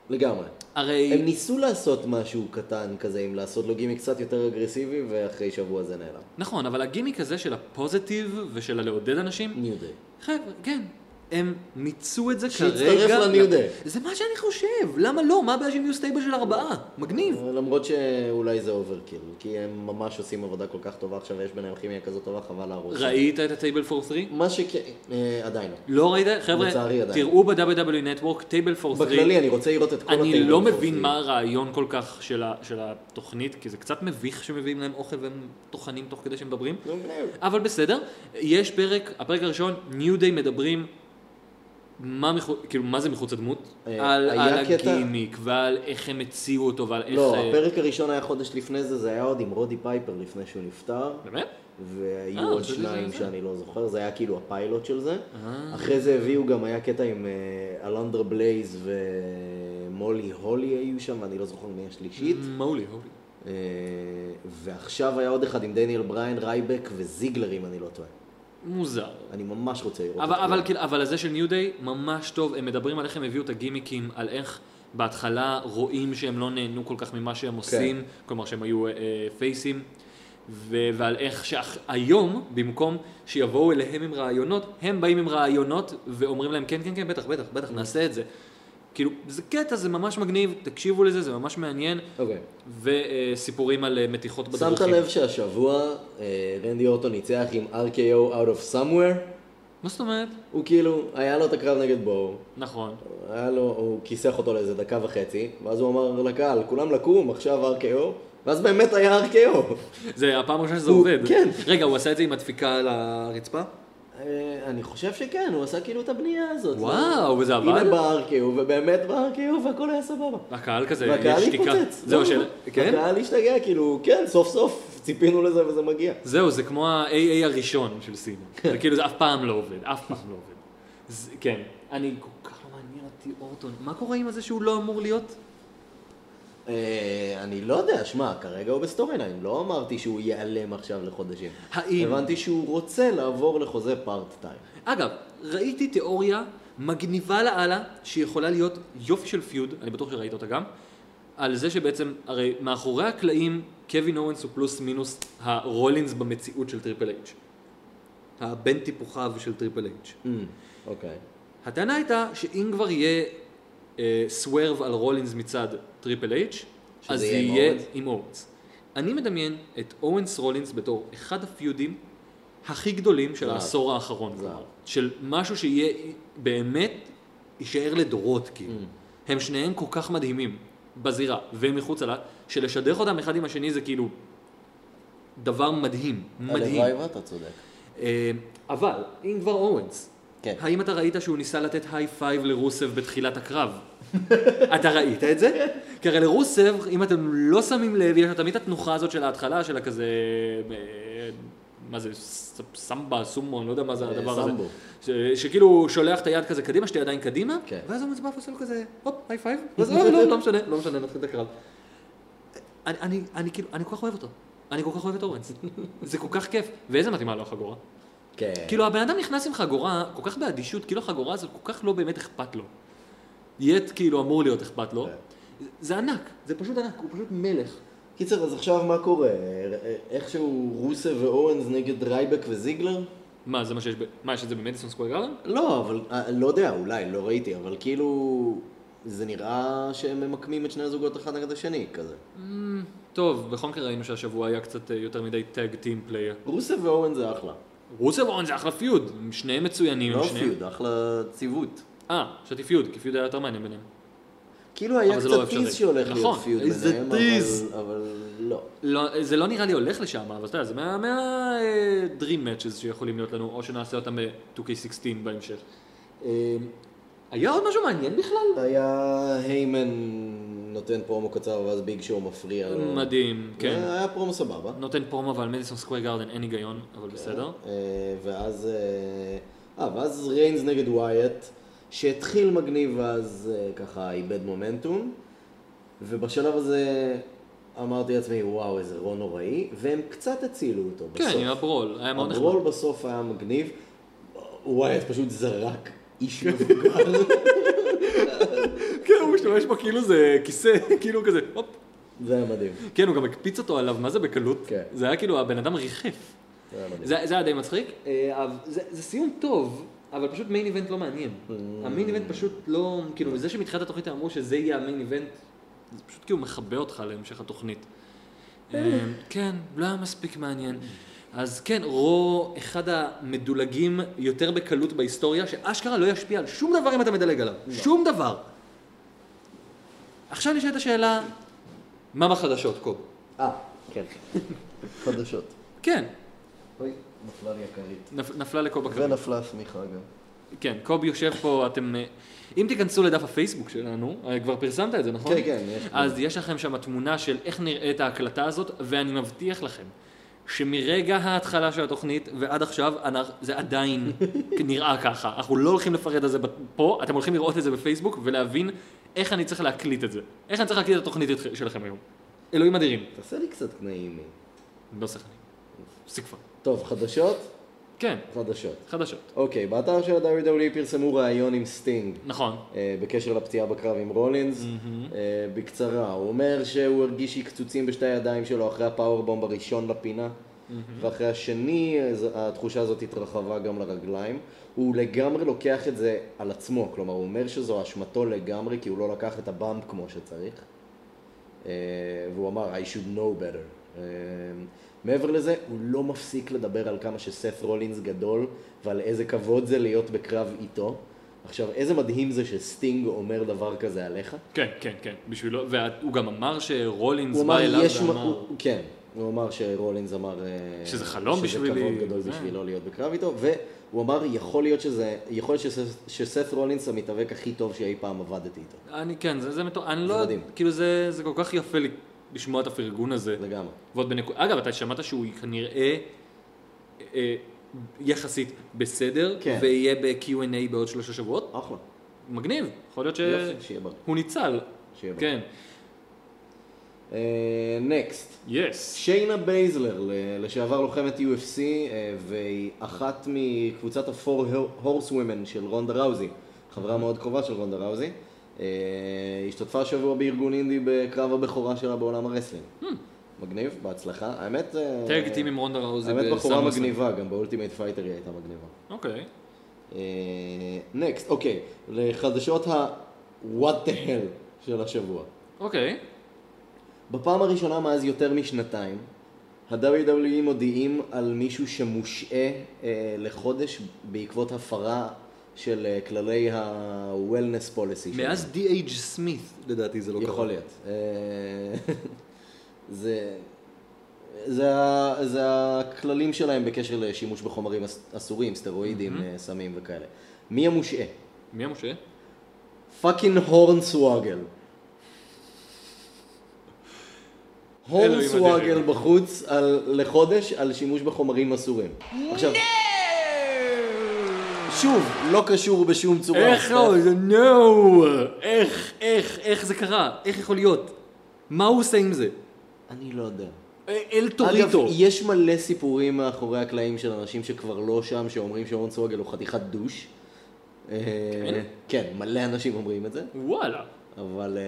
Speaker 2: לגמרי. הם
Speaker 1: הרי...
Speaker 2: ניסו לעשות משהו קטן כזה, אם לעשות לו גימיק קצת יותר אגרסיבי, ואחרי שבוע זה נעלם.
Speaker 1: נכון, אבל הגימיק הזה של הפוזיטיב ושל הלעודד אנשים,
Speaker 2: ניו דיי.
Speaker 1: חבר'ה, כן. הם מיצו את זה כרגע.
Speaker 2: שיצטרף לניו דיי.
Speaker 1: זה מה שאני חושב, למה לא? מה הבעיה שהם יהיו סטייבל של ארבעה? מגניב.
Speaker 2: למרות שאולי זה אוברקיל, כי הם ממש עושים עבודה כל כך טובה עכשיו, ויש ביניהם כימיה כזאת טובה, חבל להרוס.
Speaker 1: ראית את הטייבל פור 3?
Speaker 2: מה שכן, אה, עדיין לא.
Speaker 1: לא ראית? חבר'ה,
Speaker 2: לצערי עדיין.
Speaker 1: תראו ב-WW Network, טייבל פור 3.
Speaker 2: בכללי, אני רוצה לראות את כל
Speaker 1: אני
Speaker 2: הטייבל
Speaker 1: לא
Speaker 2: for
Speaker 1: מבין
Speaker 2: free.
Speaker 1: מה הרעיון כל כך של ה- של התוכנית, כי זה קצת מביך שמביאים להם אוכל והם טוחנים תוך כדי שהם מדברים.
Speaker 2: נו, בני,
Speaker 1: אבל בסדר, יש פרק, הפרק הראשון, ניו דיי מדברים, מה, מחו, כאילו, מה זה מחוץ לדמות?
Speaker 2: אה,
Speaker 1: על,
Speaker 2: היה
Speaker 1: על
Speaker 2: קטע-
Speaker 1: הגימיק, ועל איך הם הציעו אותו, ועל איך...
Speaker 2: לא,
Speaker 1: אה,
Speaker 2: הפרק הראשון היה חודש לפני זה, זה היה עוד עם רודי פייפר לפני שהוא נפטר.
Speaker 1: באמת? אה,
Speaker 2: והיו עוד
Speaker 1: חשבתי
Speaker 2: שניים
Speaker 1: שזה זה. אה.
Speaker 2: שאני לא זוכר, זה היה כאילו הפיילוט של זה. אחרי זה הביאו גם, היה קטע עם אה, אלנדרה בלייז ומולי הולי היו שם, אני לא זוכר מי השלישית.
Speaker 1: מעולי, מעולי.
Speaker 2: אה, ועכשיו היה עוד אחד עם דניאל בריין, רייבק וזיגלר, אם אני לא טועה.
Speaker 1: מוזר.
Speaker 2: אני ממש רוצה לראות
Speaker 1: אבל,
Speaker 2: את
Speaker 1: אבל,
Speaker 2: זה.
Speaker 1: כאילו, אבל הזה של ניו דיי ממש טוב, הם מדברים על איך הם הביאו את הגימיקים, על איך בהתחלה רואים שהם לא נהנו כל כך ממה
Speaker 2: כן.
Speaker 1: שהם עושים, כלומר שהם היו אה, אה, פייסים, ו- ועל איך שהיום, במקום שיבואו אליהם עם רעיונות, הם באים עם רעיונות ואומרים להם כן, כן, כן, בטח, בטח,
Speaker 2: Mm.
Speaker 1: בטח, נעשה את זה. כאילו, זה קטע, זה ממש מגניב, תקשיבו לזה, זה ממש מעניין,
Speaker 2: אוקיי.
Speaker 1: וסיפורים על אה, מתיחות בדרכים.
Speaker 2: שמת לב שהשבוע אה, רנדי אורטון ניצח עם RKO Out of Somewhere?
Speaker 1: מה זאת אומרת?
Speaker 2: הוא כאילו, היה לו את הקרב נגד בואו,
Speaker 1: נכון.
Speaker 2: היה לו, הוא כיסח אותו לאיזה דקה וחצי, ואז הוא אמר לקהל, כולם לקום, עכשיו RKO, ואז באמת היה RKO.
Speaker 1: זה הפעם הראשונה שזה
Speaker 2: הוא-
Speaker 1: עובד.
Speaker 2: כן.
Speaker 1: רגע, הוא עשה את זה עם הדפיקה על הרצפה?
Speaker 2: אה, אני חושב שכן, הוא עשה כאילו את הבנייה הזאת.
Speaker 1: וואו, וזה עבד?
Speaker 2: הנה בא RKO, ובאמת בא RKO, והכל היה סבבה.
Speaker 1: הקהל כזה,
Speaker 2: והקהל
Speaker 1: אה, יש שתיקה.
Speaker 2: התפוצץ.
Speaker 1: זהו,
Speaker 2: לא,
Speaker 1: של... כן?
Speaker 2: הקהל השתגע, כאילו, כן, סוף סוף ציפינו לזה וזה מגיע.
Speaker 1: זהו, זה כמו ה-AA הראשון של סינה.
Speaker 2: כן.
Speaker 1: זה כאילו, זה אף פעם לא עובד, אף פעם לא עובד. זה- כן. אני כל כך לא מעניין אותי אורטון. מה קורה עם הזה שהוא לא אמור להיות?
Speaker 2: אה, אני לא יודע, שמע, כרגע הוא בסטורי ליין, לא אמרתי שהוא ייעלם עכשיו לחודשים.
Speaker 1: האם-
Speaker 2: הבנתי שהוא רוצה לעבור לחוזה פארט טיים.
Speaker 1: אגב, ראיתי תיאוריה מגניבה לאללה, שיכולה להיות יופי של פיוד, אני בטוח שראית אותה גם, על זה שבעצם, הרי מאחורי הקלעים, קווין אורנס הוא פלוס מינוס הרולינס במציאות של טריפל אייץ'. הבן טיפוחיו של טריפל אייץ'.
Speaker 2: אוקיי.
Speaker 1: הטענה הייתה שאם כבר יהיה אה, סוורב על רולינס מצד טריפל אייץ',
Speaker 2: שזה
Speaker 1: אז זה
Speaker 2: יהיה עם
Speaker 1: יהיה
Speaker 2: אורנס?
Speaker 1: עם אורנס. אני מדמיין את אורנס רולינס בתור אחד הפיודים הכי גדולים של
Speaker 2: זהב.
Speaker 1: העשור האחרון.
Speaker 2: זהב.
Speaker 1: כלומר. של משהו שיהיה באמת יישאר לדורות, כאילו.
Speaker 2: Mm.
Speaker 1: הם שניהם כל כך מדהימים בזירה ומחוצה לה, שלשדך אותם אחד עם השני זה כאילו דבר מדהים. מדהים.
Speaker 2: הלוואי ואתה צודק.
Speaker 1: אה, אבל, אם כבר אורנס,
Speaker 2: כן.
Speaker 1: האם אתה ראית שהוא ניסה לתת היי פייב לרוסב בתחילת הקרב? אתה ראית את זה? כי הרי לרוסב, אם אתם לא שמים לב, יש לו תמיד את התנוחה הזאת של ההתחלה, של הכזה... אה, מה זה, ס- סמבה, סומו, אני לא יודע מה זה
Speaker 2: אה,
Speaker 1: הדבר הזה.
Speaker 2: סמבו.
Speaker 1: ש- שכאילו הוא שולח את היד כזה קדימה, שתי ידיים קדימה,
Speaker 2: כן.
Speaker 1: ואז הוא מצבע ועושה לו כזה, הופ, היי פייב, ואז לא, לא, לא משנה, לא משנה, נתחיל את הקרב. אני, אני, אני כאילו, אני כל כך אוהב אותו. אני כל כך אוהב את אורנס. זה כל כך כיף. ואיזה מתאימה לו החגורה.
Speaker 2: כן.
Speaker 1: כאילו, הבן אדם נכנס עם חגורה כל כך באדישות, כאילו החגורה הזאת כל כך לא באמת אכפת לו. יט כאילו אמור להיות אכפת לו. זה ענק, זה פשוט ענק, הוא פשוט מלך.
Speaker 2: אה, קיצר, אז עכשיו מה קורה? איכשהו רוסה ואורנס נגד רייבק וזיגלר?
Speaker 1: מה, זה מה שיש ב... מה, יש את זה במדיסון סקוויר גארדן?
Speaker 2: לא, אבל, אה, לא יודע, אולי, לא ראיתי, אבל כאילו, זה נראה שהם ממקמים את שני הזוגות אחד נגד השני, כזה.
Speaker 1: טוב, בכל מקרה ראינו שהשבוע היה קצת אה, יותר מדי טאג טים פלייר.
Speaker 2: רוסה ואורן זה אחלה.
Speaker 1: רוסה וורן זה אחלה פיוד, הם שניהם מצוינים. הם
Speaker 2: לא
Speaker 1: שניהם-
Speaker 2: פיוד, אחלה ציוות.
Speaker 1: אה, חשבתי פיוד, כי פיוד היה יותר מעניין ביניהם.
Speaker 2: כאילו היה
Speaker 1: אבל זה לא
Speaker 2: קצת
Speaker 1: אפשרי.
Speaker 2: טיס שהולך להיות
Speaker 1: נכון,
Speaker 2: פיוד
Speaker 1: איזה
Speaker 2: ביניהם, אבל-
Speaker 1: טיס.
Speaker 2: אבל לא.
Speaker 1: לא, זה לא נראה לי הולך לשם, אבל אתה יודע, זה מהדרים מאצ'ס שיכולים להיות לנו, או שנעשה אותם ב-2K16 בהמשך. אה, היה עוד משהו מעניין בכלל?
Speaker 2: היה היימן נותן פרומו קצר ואז ביג שואו מפריע לו.
Speaker 1: מדהים, כן.
Speaker 2: היה פרומו סבבה.
Speaker 1: נותן פרומו, אבל מדיסון סקוויר גארדן אין היגיון, אבל בסדר.
Speaker 2: אה, ואז... אה, אה, ואז ריינס נגד ווייט, שהתחיל מגניב ואז אה, ככה איבד מומנטום, ובשלב הזה אמרתי לעצמי, וואו, איזה רון נוראי, והם קצת הצילו אותו בסוף.
Speaker 1: כן, עם הברול, היה מאוד נחמד.
Speaker 2: הברול בסוף היה מגניב, ווייט פשוט זרק איש מבוגר.
Speaker 1: כן, הוא משתמש בו כאילו זה כיסא, כאילו כזה, הופ.
Speaker 2: זה היה מדהים.
Speaker 1: כן, הוא גם הקפיץ אותו עליו, מה זה בקלות?
Speaker 2: כן.
Speaker 1: זה היה כאילו, הבן אדם ריחף.
Speaker 2: זה היה מדהים.
Speaker 1: זה זה היה די מצחיק. אה, אבל זה זה סיום טוב, אבל פשוט מיין איבנט לא מעניין. המיין איבנט פשוט לא, כאילו, זה שמתחילת התוכנית הם אמרו שזה יהיה המיין איבנט, זה פשוט כאילו מכבה אותך להמשך התוכנית. אה, כן, לא היה מספיק מעניין. אז כן, רו, אחד המדולגים יותר בקלות בהיסטוריה, שאשכרה לא ישפיע על שום דבר אם אתה מדלג עליו. שום דבר. עכשיו נשאלת השאלה, מה בחדשות, קוב?
Speaker 2: אה, כן.
Speaker 4: חדשות.
Speaker 1: כן,
Speaker 4: אוי, נפלה לי הכרית.
Speaker 1: נפ- נפלה לקוב הכבוד.
Speaker 4: ונפלה השמיכה גם.
Speaker 1: כן, קובי יושב פה, אתם... אה, אם תיכנסו לדף הפייסבוק שלנו, אה, כבר פרסמת את זה, נכון?
Speaker 2: כן, כן, יש.
Speaker 1: אז יש לכם שם תמונה של איך נראית ההקלטה הזאת, ואני מבטיח לכם שמרגע ההתחלה של התוכנית ועד עכשיו, אנחנו- זה עדיין נראה ככה. אנחנו לא הולכים לפרט על זה בת- פה, אתם הולכים לראות את זה בפייסבוק ולהבין איך אני צריך להקליט את זה. איך אני צריך להקליט את התוכנית איתכם- שלכם היום. אלוהים אדירים.
Speaker 2: תעשה לי קצת נעימי.
Speaker 1: לא שחקנים. תפסיק כבר.
Speaker 2: טוב, חדשות?
Speaker 1: כן,
Speaker 2: חדשות.
Speaker 1: חדשות.
Speaker 2: אוקיי, באתר של ה-WWE פרסמו ראיון עם סטינג.
Speaker 1: נכון.
Speaker 2: אה, בקשר לפציעה בקרב עם רולינס, אה, בקצרה, הוא אומר שהוא הרגיש שקצוצים בשתי הידיים שלו אחרי הפאורבום הראשון לפינה, ואחרי השני אה, ז- התחושה הזאת התרחבה גם לרגליים. הוא לגמרי לוקח את זה על עצמו, כלומר הוא אומר שזו אשמתו לגמרי כי הוא לא לקח את הבאמפ כמו שצריך. אה, והוא אמר, I should know better. אה, מעבר לזה, הוא לא מפסיק לדבר על כמה שסף רולינס גדול, ועל איזה כבוד זה להיות בקרב איתו. עכשיו, איזה מדהים זה שסטינג אומר דבר כזה עליך.
Speaker 1: כן, כן, כן. בשבילו, והוא גם אמר שרולינס
Speaker 2: הוא
Speaker 1: בא
Speaker 2: אמר,
Speaker 1: אליו
Speaker 2: יש... מ-
Speaker 1: ואמר...
Speaker 2: הוא- כן, הוא אמר שרולינס אמר... אה,
Speaker 1: שזה חלום בשבילי.
Speaker 2: שזה כבוד גדול
Speaker 1: כן.
Speaker 2: בשבילו להיות בקרב איתו, והוא אמר, יכול להיות שזה... יכול להיות שסף- שסף רולינס המתאבק הכי טוב שאי פעם עבדתי איתו.
Speaker 1: אני כן, זה, זה מטורף, אני לא,
Speaker 2: מדהים.
Speaker 1: כאילו זה, זה כל כך יפה לי- לשמוע את הפרגון הזה.
Speaker 2: לגמרי.
Speaker 1: ועוד בנקוד, אגב, אתה שמעת שהוא כנראה אה, יחסית בסדר,
Speaker 2: כן.
Speaker 1: ויהיה ב-Q&A בעוד שלושה שבועות,
Speaker 2: אחלה.
Speaker 1: מגניב, יכול להיות
Speaker 2: יופי, שיהיה בריא.
Speaker 1: שהוא ניצל.
Speaker 2: שיהיה בריא.
Speaker 1: אה,
Speaker 2: אה,
Speaker 1: כן,
Speaker 2: נקסט.
Speaker 1: יס.
Speaker 2: שיינה בייזלר, ל- לשעבר לוחמת UFC, אה, והיא אחת מקבוצת הפור הורס ווימן של רונדה ראוזי, חברה מאוד קרובה של רונדה ראוזי, אה, השתתפה השבוע בארגון אינדי בקרב הבכורה שלה בעולם הרסלינג. מגניב, בהצלחה. האמת... אה,
Speaker 1: טאג טים עם רונדה ראוזי
Speaker 2: האמת בחורה
Speaker 1: בסמרסלאם.
Speaker 2: מגניבה, גם באולטימייט פייטר היא הייתה מגניבה.
Speaker 1: אוקיי.
Speaker 2: נקסט, אוקיי, לחדשות ה... what the hell של השבוע.
Speaker 1: אוקיי.
Speaker 2: בפעם הראשונה מאז יותר משנתיים, ה-WWE מודיעים על מישהו שמושעה אה, לחודש בעקבות הפרה של אה, כללי ה-Wellness Policy. שלהם.
Speaker 1: מאז D.H. סמית, לדעתי זה לא קרה.
Speaker 2: יכול להיות. אה, זה... זה, ה- זה הכללים שלהם בקשר לשימוש בחומרים אס- אסורים, סטרואידים, אה, סמים וכאלה. מי המושעה?
Speaker 1: מי המשה?
Speaker 2: פאקינג הורנסוואגל. הורנסוואגל
Speaker 1: אדירים.
Speaker 2: בחוץ על, לחודש על שימוש בחומרים אסורים. עכשיו, שוב, לא קשור בשום צורה.
Speaker 1: איך לא? זה נו! איך, איך, איך זה קרה? איך יכול להיות? מה הוא עושה עם זה?
Speaker 2: אני לא יודע.
Speaker 1: אל
Speaker 2: אגב,
Speaker 1: טוריטו.
Speaker 2: יש מלא סיפורים מאחורי הקלעים של אנשים שכבר לא שם, שאומרים שהורנסוואגל הוא חתיכת דוש. אה, כן, מלא אנשים אומרים את זה.
Speaker 1: וואלה.
Speaker 2: אבל אה,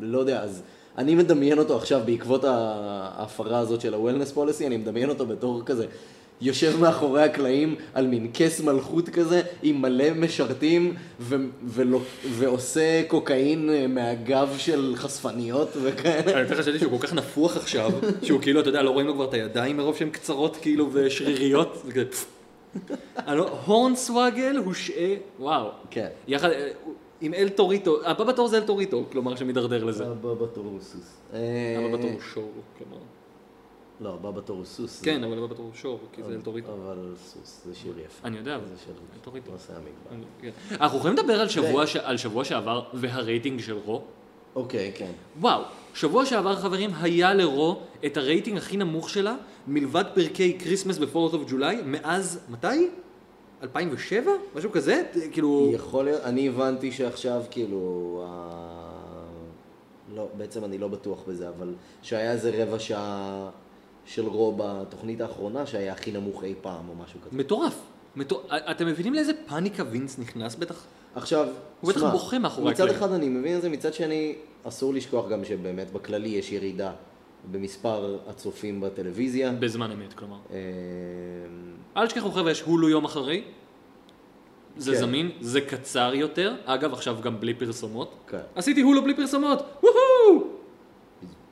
Speaker 2: לא יודע, אז אני מדמיין אותו עכשיו בעקבות ההפרה הזאת של ה-Wellness Policy, אני מדמיין אותו בתור כזה
Speaker 5: יושב מאחורי הקלעים על מין כס מלכות כזה, עם מלא משרתים, ו- ולו- ועושה קוקאין אה, מהגב של חשפניות וכאלה.
Speaker 1: אני יותר חשבתי שהוא כל כך נפוח עכשיו, שהוא כאילו, אתה יודע, לא רואים לו כבר את הידיים מרוב שהן קצרות כאילו ושריריות. זה כזה, פפפ. אני לא- הורנסוואגל הושעה, וואו.
Speaker 5: כן.
Speaker 1: יחד, אה, עם אל טוריטו, הבא בתור זה אל טוריטו, כלומר שמידרדר לזה.
Speaker 2: הבא בתור הוא סוס.
Speaker 5: אה,
Speaker 1: הבא בתור הוא שור, כלומר.
Speaker 2: לא, הבא בתור הוא סוס.
Speaker 1: כן, אבל הבא בתור הוא שור, כי זה אל טוריטו.
Speaker 2: אבל סוס, זה שיר יפה.
Speaker 1: אני יודע, אבל
Speaker 2: אה, זה של
Speaker 1: אל טוריטו.
Speaker 2: נושא המגבר.
Speaker 1: אני- כן. אנחנו יכולים לדבר על שבוע ש- על שבוע שעבר והרייטינג של רו?
Speaker 2: אוקיי, כן.
Speaker 1: וואו, שבוע שעבר חברים היה לרו את הרייטינג הכי נמוך שלה מלבד פרקי כריסמס בפורט אוף ג'ולי מאז מתי? 2007? משהו כזה? ת- כאילו...
Speaker 2: יכול להיות, אני הבנתי שעכשיו כאילו, ה- לא, בעצם אני לא בטוח בזה, אבל שהיה איזה רבע שעה של רו בתוכנית האחרונה שהיה הכי נמוך אי פעם או משהו כזה.
Speaker 1: מטורף. מטור... א- אתם מבינים לאיזה פאניקה וינס נכנס בטח?
Speaker 2: עכשיו,
Speaker 1: הוא בטח
Speaker 2: שמע,
Speaker 1: בוכה מאחורי
Speaker 2: מצד
Speaker 1: הקלעים.
Speaker 2: אחד אני מבין את זה, מצד שני, אסור לשכוח גם שבאמת בכללי יש ירידה במספר הצופים בטלוויזיה. אמ,
Speaker 1: בזמן אמת כלומר.
Speaker 2: אה,
Speaker 1: אל תשכחו חבר'ה, יש הולו יום אחרי. זה
Speaker 2: כן.
Speaker 1: זמין, זה קצר יותר. אגב, עכשיו גם בלי פרסומות.
Speaker 2: כן.
Speaker 1: עשיתי הולו בלי פרסומות! וואו!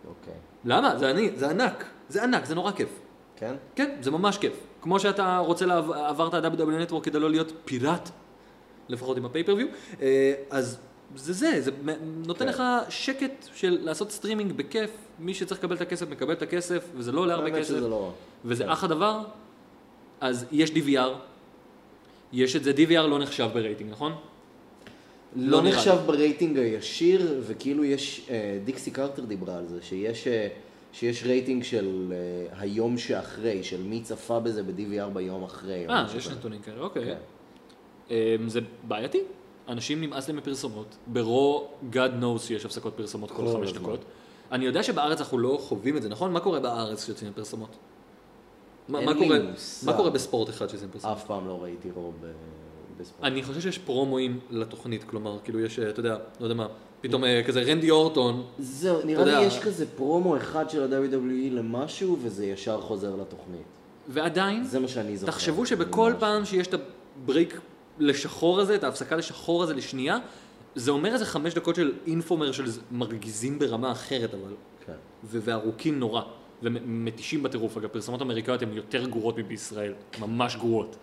Speaker 2: אוקיי.
Speaker 1: למה? זה אני, זה ענק. זה ענק, זה נורא כיף.
Speaker 2: כן?
Speaker 1: כן, זה ממש כיף. כמו שאתה רוצה, לעב- עברת ה-WW Network כדי לא להיות פיראט, לפחות עם הפייפריוויו, אה, אז זה זה, זה מ- נותן
Speaker 2: כן.
Speaker 1: לך שקט של לעשות סטרימינג בכיף, מי שצריך לקבל את הכסף מקבל את הכסף, וזה לא עולה הרבה
Speaker 2: האמת
Speaker 1: כסף,
Speaker 2: שזה לא רע.
Speaker 1: וזה אחלה דבר, אז יש DVR, יש את זה, DVR לא נחשב ברייטינג, נכון?
Speaker 2: לא
Speaker 1: נראה
Speaker 2: נחשב
Speaker 1: לי.
Speaker 2: ברייטינג הישיר, וכאילו יש, אה, דיקסי קרטר דיברה על זה, שיש, אה, שיש רייטינג של אה, היום שאחרי, של מי צפה בזה ב-DVR ביום אחרי. או
Speaker 1: אה,
Speaker 2: משהו
Speaker 1: יש
Speaker 2: כזה.
Speaker 1: נתונים כאלה, אוקיי.
Speaker 2: כן.
Speaker 1: אה, זה בעייתי. אנשים נמאס להם מפרסומות. ברו, God knows שיש הפסקות פרסומות כל
Speaker 2: כל
Speaker 1: חמש
Speaker 2: הזמן.
Speaker 1: דקות. אני יודע שבארץ אנחנו לא חווים את זה, נכון? מה קורה בארץ כשיוצאים פרסומות? מה,
Speaker 2: אין
Speaker 1: מה,
Speaker 2: לי
Speaker 1: קורה,
Speaker 2: מושג.
Speaker 1: מה קורה בספורט אחד שיוצאים פרסומות?
Speaker 2: אף פעם לא ראיתי רוב אה, בספורט.
Speaker 1: אני חושב שיש פרומואים לתוכנית, כלומר, כאילו יש, אה, אתה יודע, לא יודע מה, פתאום אה, כזה רנדי אורטון,
Speaker 2: זהו,
Speaker 1: אתה
Speaker 2: נראה
Speaker 1: יודע-
Speaker 2: לי יש כזה פרומו אחד של ה-WWE למשהו, וזה ישר חוזר לתוכנית.
Speaker 1: ועדיין,
Speaker 2: זה מה שאני זוכר.
Speaker 1: תחשבו
Speaker 2: זה
Speaker 1: שבכל
Speaker 2: ממש-
Speaker 1: פעם שיש את הברייק לשחור הזה, את ההפסקה לשחור הזה לשנייה, זה אומר איזה חמש דקות של אינפומר של ז- מרגיזים ברמה אחרת, אבל
Speaker 2: כן.
Speaker 1: ו- וארוכים נורא, ומתישים בטירוף. אגב, פרסומות אמריקאיות הן יותר גרועות מבישראל, ממש גרועות.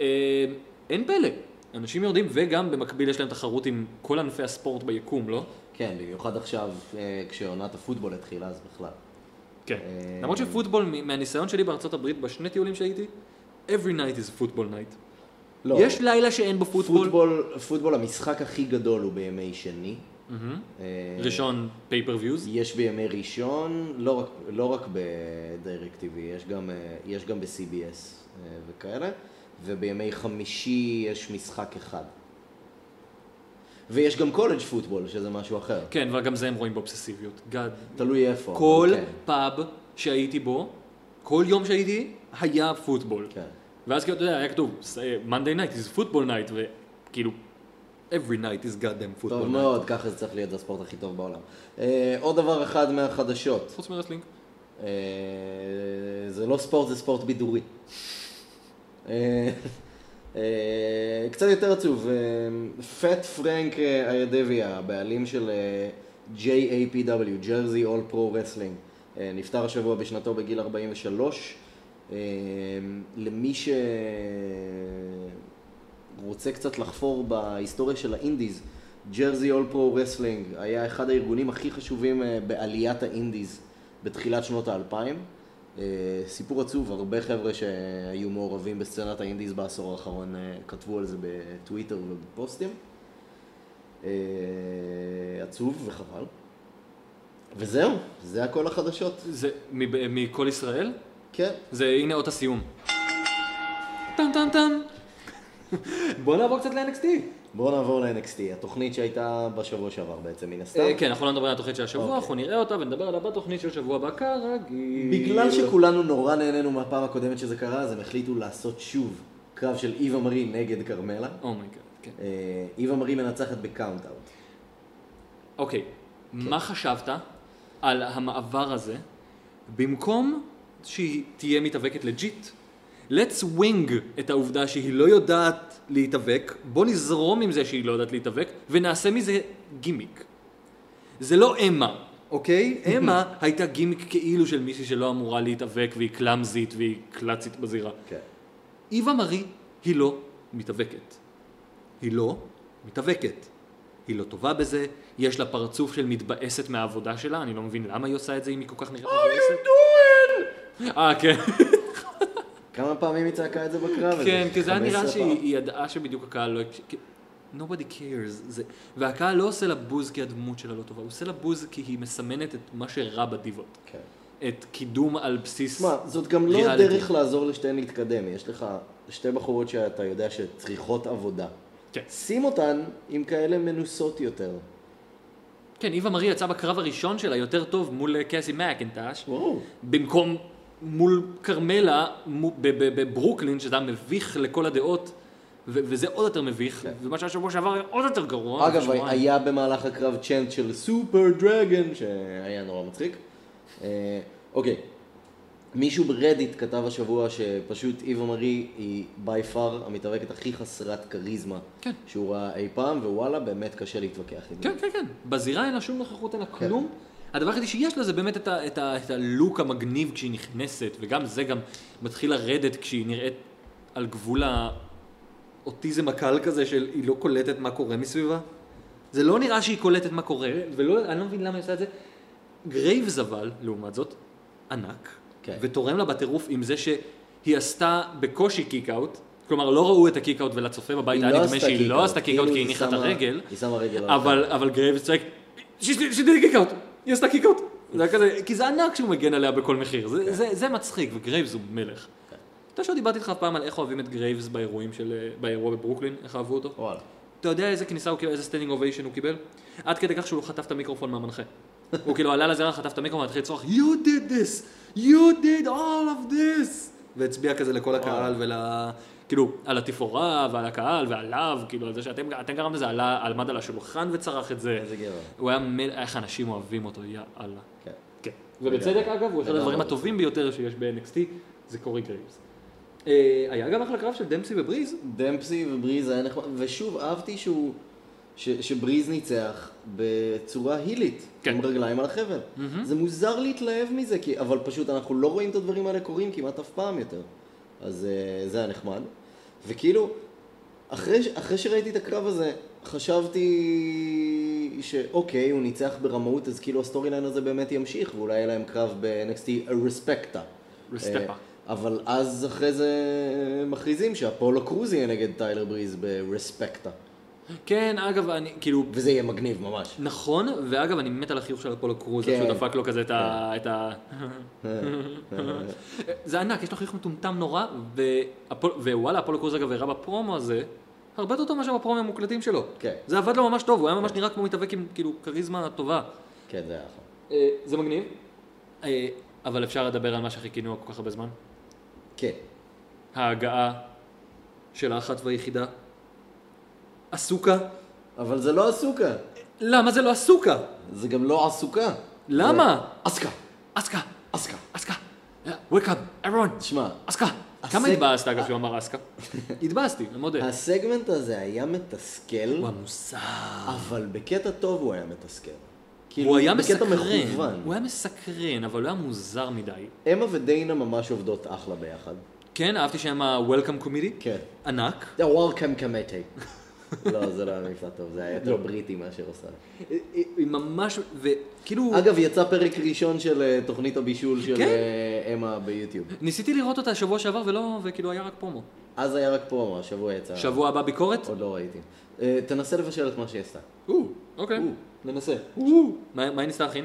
Speaker 1: אה, אין פלא, אנשים יורדים, וגם במקביל יש להם תחרות עם כל ענפי הספורט ביקום, לא?
Speaker 2: כן, במיוחד עכשיו, אה, כשעונת הפוטבול התחילה, אז בכלל.
Speaker 1: כן.
Speaker 2: אה,
Speaker 1: למרות שפוטבול, מ- מהניסיון שלי בארצות הברית, בשני טיולים שהייתי, every night is football night.
Speaker 2: לא.
Speaker 1: יש לילה שאין בו פוטבול,
Speaker 2: פוטבול, פוטבול, המשחק הכי גדול הוא בימי שני. אה,
Speaker 1: ראשון פייפרוויוז,
Speaker 2: יש בימי ראשון, לא רק, לא רק ב-direct TV, יש גם, אה, יש גם ב-CBS אה, וכאלה, ובימי חמישי יש משחק אחד. ויש גם קולג' פוטבול, שזה משהו אחר.
Speaker 1: כן, וגם זה הם רואים באובססיביות. גאד.
Speaker 2: תלוי איפה. אבל
Speaker 1: כל
Speaker 2: כן,
Speaker 1: פאב שהייתי בו, כל יום שהייתי, היה פוטבול.
Speaker 2: כן.
Speaker 1: ואז כאילו, אתה יודע, היה כתוב, "S- eh, Monday night is football night, וכאילו, every night is goddamn football
Speaker 2: טוב
Speaker 1: night.
Speaker 2: מאוד, ככה זה צריך להיות זה הספורט הכי טוב בעולם. אה, עוד דבר אחד מהחדשות,
Speaker 1: חוץ מרסלינג.
Speaker 2: אה, זה לא ספורט, זה ספורט בידורי. אה, אה, קצת יותר עצוב, אה, פט פרנק אה, איידביה, הבעלים של אה, JAPW, Jersey All Pro Wrestling, אה, נפטר השבוע בשנתו בגיל 43. אה, למי שרוצה קצת לחפור בהיסטוריה של האינדיז, ג'רזי אול פרו רסלינג היה אחד הארגונים הכי חשובים אה, בעליית האינדיז בתחילת שנות האלפיים. אה, סיפור עצוב, הרבה חבר'ה שהיו מעורבים בסצנת האינדיז בעשור האחרון אה, כתבו על זה בטוויטר ובפוסטים. אה, עצוב וחבל. וזהו, זה הכל החדשות.
Speaker 1: זה מב- מכל ישראל?
Speaker 2: כן.
Speaker 1: זה הנה אות הסיום. טם טם טם. בוא נעבור קצת ל-NXT.
Speaker 2: בואו נעבור ל-NXT, התוכנית שהייתה בשבוע שעבר בעצם, מן הסתם.
Speaker 1: אה, כן, אנחנו לא נדבר על התוכנית של השבוע,
Speaker 2: אוקיי.
Speaker 1: אנחנו נראה אותה ונדבר עליה בתוכנית של שבוע הבא, כרגיל.
Speaker 2: בגלל שכולנו נורא נהנינו מהפעם הקודמת שזה קרה, אז הם החליטו לעשות שוב קרב של איווה מרי נגד כרמלה.
Speaker 1: אומייגאד, כן.
Speaker 2: אה, איווה מרי מנצחת בקאונט-אאוט.
Speaker 1: אוקיי, מה חשבת על המעבר הזה, במקום שהיא תהיה מתאבקת לג'יט, let's wing את העובדה שהיא לא יודעת להתאבק, בוא נזרום עם זה שהיא לא יודעת להתאבק, ונעשה מזה גימיק. זה לא אמה, אוקיי? אמה הייתה גימיק כאילו של מישהי שלא אמורה להתאבק, והיא קלאמזית והיא קלאצית בזירה.
Speaker 2: כן.
Speaker 1: איווה מארי היא לא מתאבקת. היא לא מתאבקת. היא לא טובה בזה, יש לה פרצוף של מתבאסת מהעבודה שלה, אני לא מבין למה היא עושה את זה אם היא כל כך נראית מתבאסת. אה, כן,
Speaker 2: כמה פעמים היא צעקה את זה בקרב הזה?
Speaker 1: כן, כי זה היה נראה
Speaker 2: 15
Speaker 1: שהיא
Speaker 2: פעם.
Speaker 1: היא ידעה שבדיוק הקהל לא... הקש- כי- nobody cares. זה... והקהל לא עושה לה בוז כי הדמות שלה לא טובה, הוא עושה לה בוז כי היא מסמנת את מה שרע בדיבות.
Speaker 2: כן.
Speaker 1: את קידום על בסיס...
Speaker 2: שמע, זאת גם לא
Speaker 1: ריאליטי.
Speaker 2: דרך לעזור לשתיהן להתקדם, יש לך שתי בחורות שאתה יודע שצריכות עבודה.
Speaker 1: כן.
Speaker 2: שים אותן עם כאלה מנוסות יותר.
Speaker 1: כן, איווה מרי יצאה בקרב הראשון שלה יותר טוב מול קאסי מקינטש.
Speaker 2: וואו.
Speaker 1: במקום מול כרמלה מו- ב- ב- בברוקלין, שזה היה מביך לכל הדעות, ו- וזה עוד יותר מביך, ומה שהיה שבוע שעבר היה עוד יותר גרוע.
Speaker 2: כן. אגב,
Speaker 1: שבועיים.
Speaker 2: היה במהלך הקרב צ'אנט של סופר דרגן, שהיה נורא מצחיק. אה, אוקיי, מישהו ברדיט כתב השבוע שפשוט איווה מארי היא בי פאר המתאבקת הכי חסרת כריזמה
Speaker 1: כן.
Speaker 2: שהוא ראה אי פעם, ווואלה, באמת קשה להתווכח עם זה.
Speaker 1: כן, כן, כן. בזירה אין לה שום נוכחות, אין לה
Speaker 2: כן.
Speaker 1: כלום. הדבר היחידי שיש לה זה באמת את, ה, את, ה, את הלוק המגניב כשהיא נכנסת, וגם זה גם מתחיל לרדת כשהיא נראית על גבול האוטיזם הקל כזה של היא לא קולטת מה קורה מסביבה. זה לא נראה שהיא קולטת מה קורה, ואני לא מבין למה היא עושה את זה. גרייבס אבל, לעומת זאת, ענק,
Speaker 2: כן.
Speaker 1: ותורם לה בטירוף עם זה שהיא עשתה בקושי קיק-אאוט, כלומר לא ראו את הקיק-אאוט ולצופה בבית,
Speaker 2: היא
Speaker 1: היה
Speaker 2: לא
Speaker 1: נדמה
Speaker 2: עשתה
Speaker 1: שהיא לא
Speaker 2: קיק-אאוט,
Speaker 1: עשתה קיק-אאוט
Speaker 2: כאילו
Speaker 1: כי היא
Speaker 2: היא
Speaker 1: הניחה את
Speaker 2: שמה-
Speaker 1: הרגל.
Speaker 2: היא שמה רגל על
Speaker 1: אבל, אבל גרייבס צועק, שתהיה קיקאוט, היא עשתה קיקאוט. זה היה כזה, כי זה ענק שהוא מגן עליה בכל מחיר, זה, זה, זה מצחיק, וגרייבס הוא מלך. אתה יודע שלא דיברתי איתך פעם על איך אוהבים את גרייבס באירועים של, אה, באירוע בברוקלין, איך אהבו אותו?
Speaker 2: וואלה.
Speaker 1: אתה יודע איזה כניסה הוא קיבל, איזה סטנדינג אוביישן הוא קיבל? עד כדי כך שהוא לא חטף את המיקרופון מהמנחה. הוא כאילו עלה לזירה, חטף את המיקרופון, התחיל לצרוח, You did this! You did all of this! והצביע כזה לכל הקהל ול... כאילו, על התפאורה ועל הקהל ועליו, כאילו, על זה שאתם אתם גרמתם לזה, עלה, עמד על השולחן וצרח את זה.
Speaker 2: איזה גבר.
Speaker 1: הוא היה מל... איך אנשים אוהבים אותו, יא אללה.
Speaker 2: כן.
Speaker 1: כן. ובצדק אגב, הוא אחד
Speaker 2: לגמרי.
Speaker 1: הדברים הטובים ביותר שיש ב-NXT, זה קורי גרייבס. אה, היה גם אחלה קרב של דמפסי ובריז?
Speaker 2: דמפסי ובריז היה נחמד, ושוב, אהבתי שהוא, ש, שבריז ניצח בצורה הילית,
Speaker 1: כן.
Speaker 2: כן. עם רגליים על החבל. Mm-hmm. זה מוזר להתלהב מזה, כי, אבל פשוט אנחנו לא רואים את הדברים האלה קורים כמעט אף פעם יותר. אז אה, זה היה נחמד. וכאילו, אחרי, ש- אחרי שראיתי את הקרב הזה, חשבתי שאוקיי, הוא ניצח ברמאות, אז כאילו הסטורי ליין הזה באמת ימשיך, ואולי יהיה להם קרב ב-NXT רספקטה.
Speaker 1: רסטפה.
Speaker 2: אה, אבל אז אחרי זה אה, מכריזים שהפולו קרוז יהיה נגד טיילר בריז ברספקטה.
Speaker 1: כן, אגב, אני, כאילו,
Speaker 2: וזה יהיה מגניב ממש.
Speaker 1: נכון, ואגב, אני מת על החיוך של אפולו קרוז,
Speaker 2: כן.
Speaker 1: איך שהוא דפק לו כזה את ה... את ה... זה ענק, יש לו חיוך מטומטם נורא, ואפול- ווואלה, אפולו קרוז אגב הראה בפרומו הזה, הרבה יותר טוב מאשר בפרומו המוקלטים שלו.
Speaker 2: כן.
Speaker 1: זה עבד לו ממש טוב, הוא היה ממש נראה כמו מתאבק עם כאילו כריזמה טובה.
Speaker 2: כן, זה היה אחלה.
Speaker 1: אה, זה מגניב, אה, אבל אפשר לדבר על מה שחיכינו כל כך הרבה זמן.
Speaker 2: כן.
Speaker 1: ההגעה של האחת והיחידה, אסוקה.
Speaker 2: אבל זה לא אסוקה.
Speaker 1: למה זה לא אסוקה?
Speaker 2: זה גם לא עסוקה.
Speaker 1: למה?
Speaker 2: זה אסקה.
Speaker 1: אסקה.
Speaker 2: אסקה.
Speaker 1: אסקה, ויקאם, אירון,
Speaker 2: תשמע,
Speaker 1: אסקה.
Speaker 2: הסק-
Speaker 1: כמה התבאסת אגב שהוא אמר אסקה? התבאסתי, אני מודה.
Speaker 2: הסגמנט הזה היה מתסכל,
Speaker 1: הוא המוסר.
Speaker 2: אבל בקטע טוב הוא היה מתסכל. כאילו,
Speaker 1: הוא היה
Speaker 2: בקטע
Speaker 1: מסקרן,
Speaker 2: מכוון.
Speaker 1: הוא היה מסקרן, אבל הוא היה מוזר מדי.
Speaker 2: אמה ודיינה ממש עובדות אחלה ביחד.
Speaker 1: כן, אהבתי שהם ה-Welcome Committee.
Speaker 2: כן.
Speaker 1: ענק.
Speaker 2: The Welcome Committee. לא, זה לא היה מבטא טוב, זה היה יותר בריטי מאשר עושה.
Speaker 1: אה, אה, ממש, וכאילו,
Speaker 2: אגב, יצא פרק ראשון של אה, תוכנית הבישול של
Speaker 1: כן.
Speaker 2: אה, אמה ביוטיוב.
Speaker 1: ניסיתי לראות אותה שבוע שעבר ולא, וכאילו היה רק פרומו.
Speaker 2: אז היה רק פרומו, השבוע יצא.
Speaker 1: שבוע הבא ביקורת?
Speaker 2: עוד לא ראיתי. אה, תנסה לבשל את מה שהיא עשתה.
Speaker 1: או, אוקיי.
Speaker 2: או, ננסה.
Speaker 1: מה מה היא ניסתה להכין?